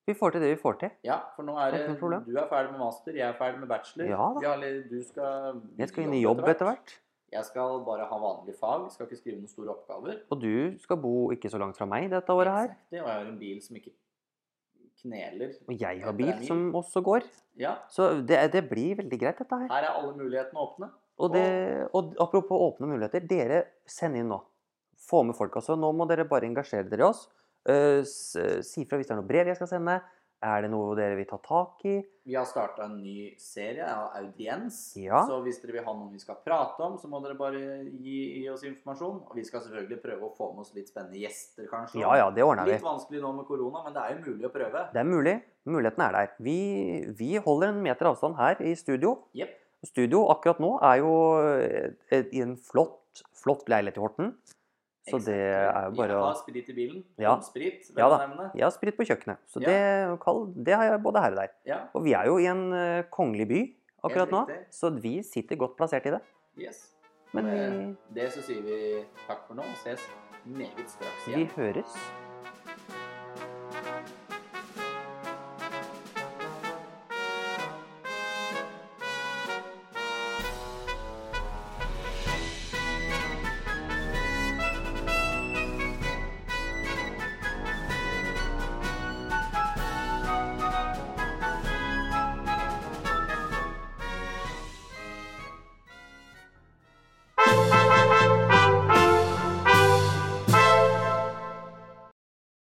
Speaker 2: Vi får til det vi får til.
Speaker 1: Ja, for nå er det,
Speaker 2: Det er ikke noe problem.
Speaker 1: du er ferdig med master, jeg er ferdig med bachelor.
Speaker 2: Ja da.
Speaker 1: Vi har litt- du skal...
Speaker 2: Jeg skal inn i jobb etter hvert.
Speaker 1: Jeg skal bare ha vanlig fag, skal ikke skrive noen store oppgaver.
Speaker 2: Og du skal bo ikke så langt fra meg dette året her.
Speaker 1: Exakt, Det og jeg har en bil som ikke kneler.
Speaker 2: Og jeg har
Speaker 1: Etter
Speaker 2: bil
Speaker 1: en bil.
Speaker 2: som også går.
Speaker 1: Ja,
Speaker 2: Så det, det blir veldig greit, dette her.
Speaker 1: her er alle mulighetene åpne.
Speaker 2: Og, det, og apropos åpne muligheter. Dere, send inn nå. Få med folk, altså. Nå må dere bare engasjere dere i oss. Eh, s- Si fra hvis det er noe brev jeg skal sende. Er det noe dere vil ta tak i?
Speaker 1: Vi har starta en ny serie av audiens.
Speaker 2: Ja.
Speaker 1: Så hvis dere vil ha noen vi skal prate om, så må dere bare gi, gi oss informasjon. Og vi skal selvfølgelig prøve å få med oss litt spennende gjester, kanskje.
Speaker 2: Ja ja, det ordner vi.
Speaker 1: Litt vanskelig nå med korona, men det er jo mulig å prøve.
Speaker 2: Det er mulig. Muligheten er der. Vi, vi holder en meter avstand her i studio.
Speaker 1: Jepp.
Speaker 2: Studio akkurat nå er jo eh, i en flott, flott leilighet i Horten. Så det er jo bare
Speaker 1: å
Speaker 2: å
Speaker 1: har sprit i bilen.
Speaker 2: Ja.
Speaker 1: Sprit, vel
Speaker 2: Ja
Speaker 1: å
Speaker 2: da.
Speaker 1: nevne.
Speaker 2: Jeg har sprit på kjøkkenet, så
Speaker 1: Ja.
Speaker 2: det, kall- det har jeg både her og der.
Speaker 1: Ja.
Speaker 2: Og vi er jo i en eh, kongelig by akkurat nå,
Speaker 1: riktig.
Speaker 2: så vi sitter godt plassert i det.
Speaker 1: Yes.
Speaker 2: Men vi,
Speaker 1: Med det så sier vi takk for nå og ses meget straks
Speaker 2: vi
Speaker 1: igjen.
Speaker 2: høres.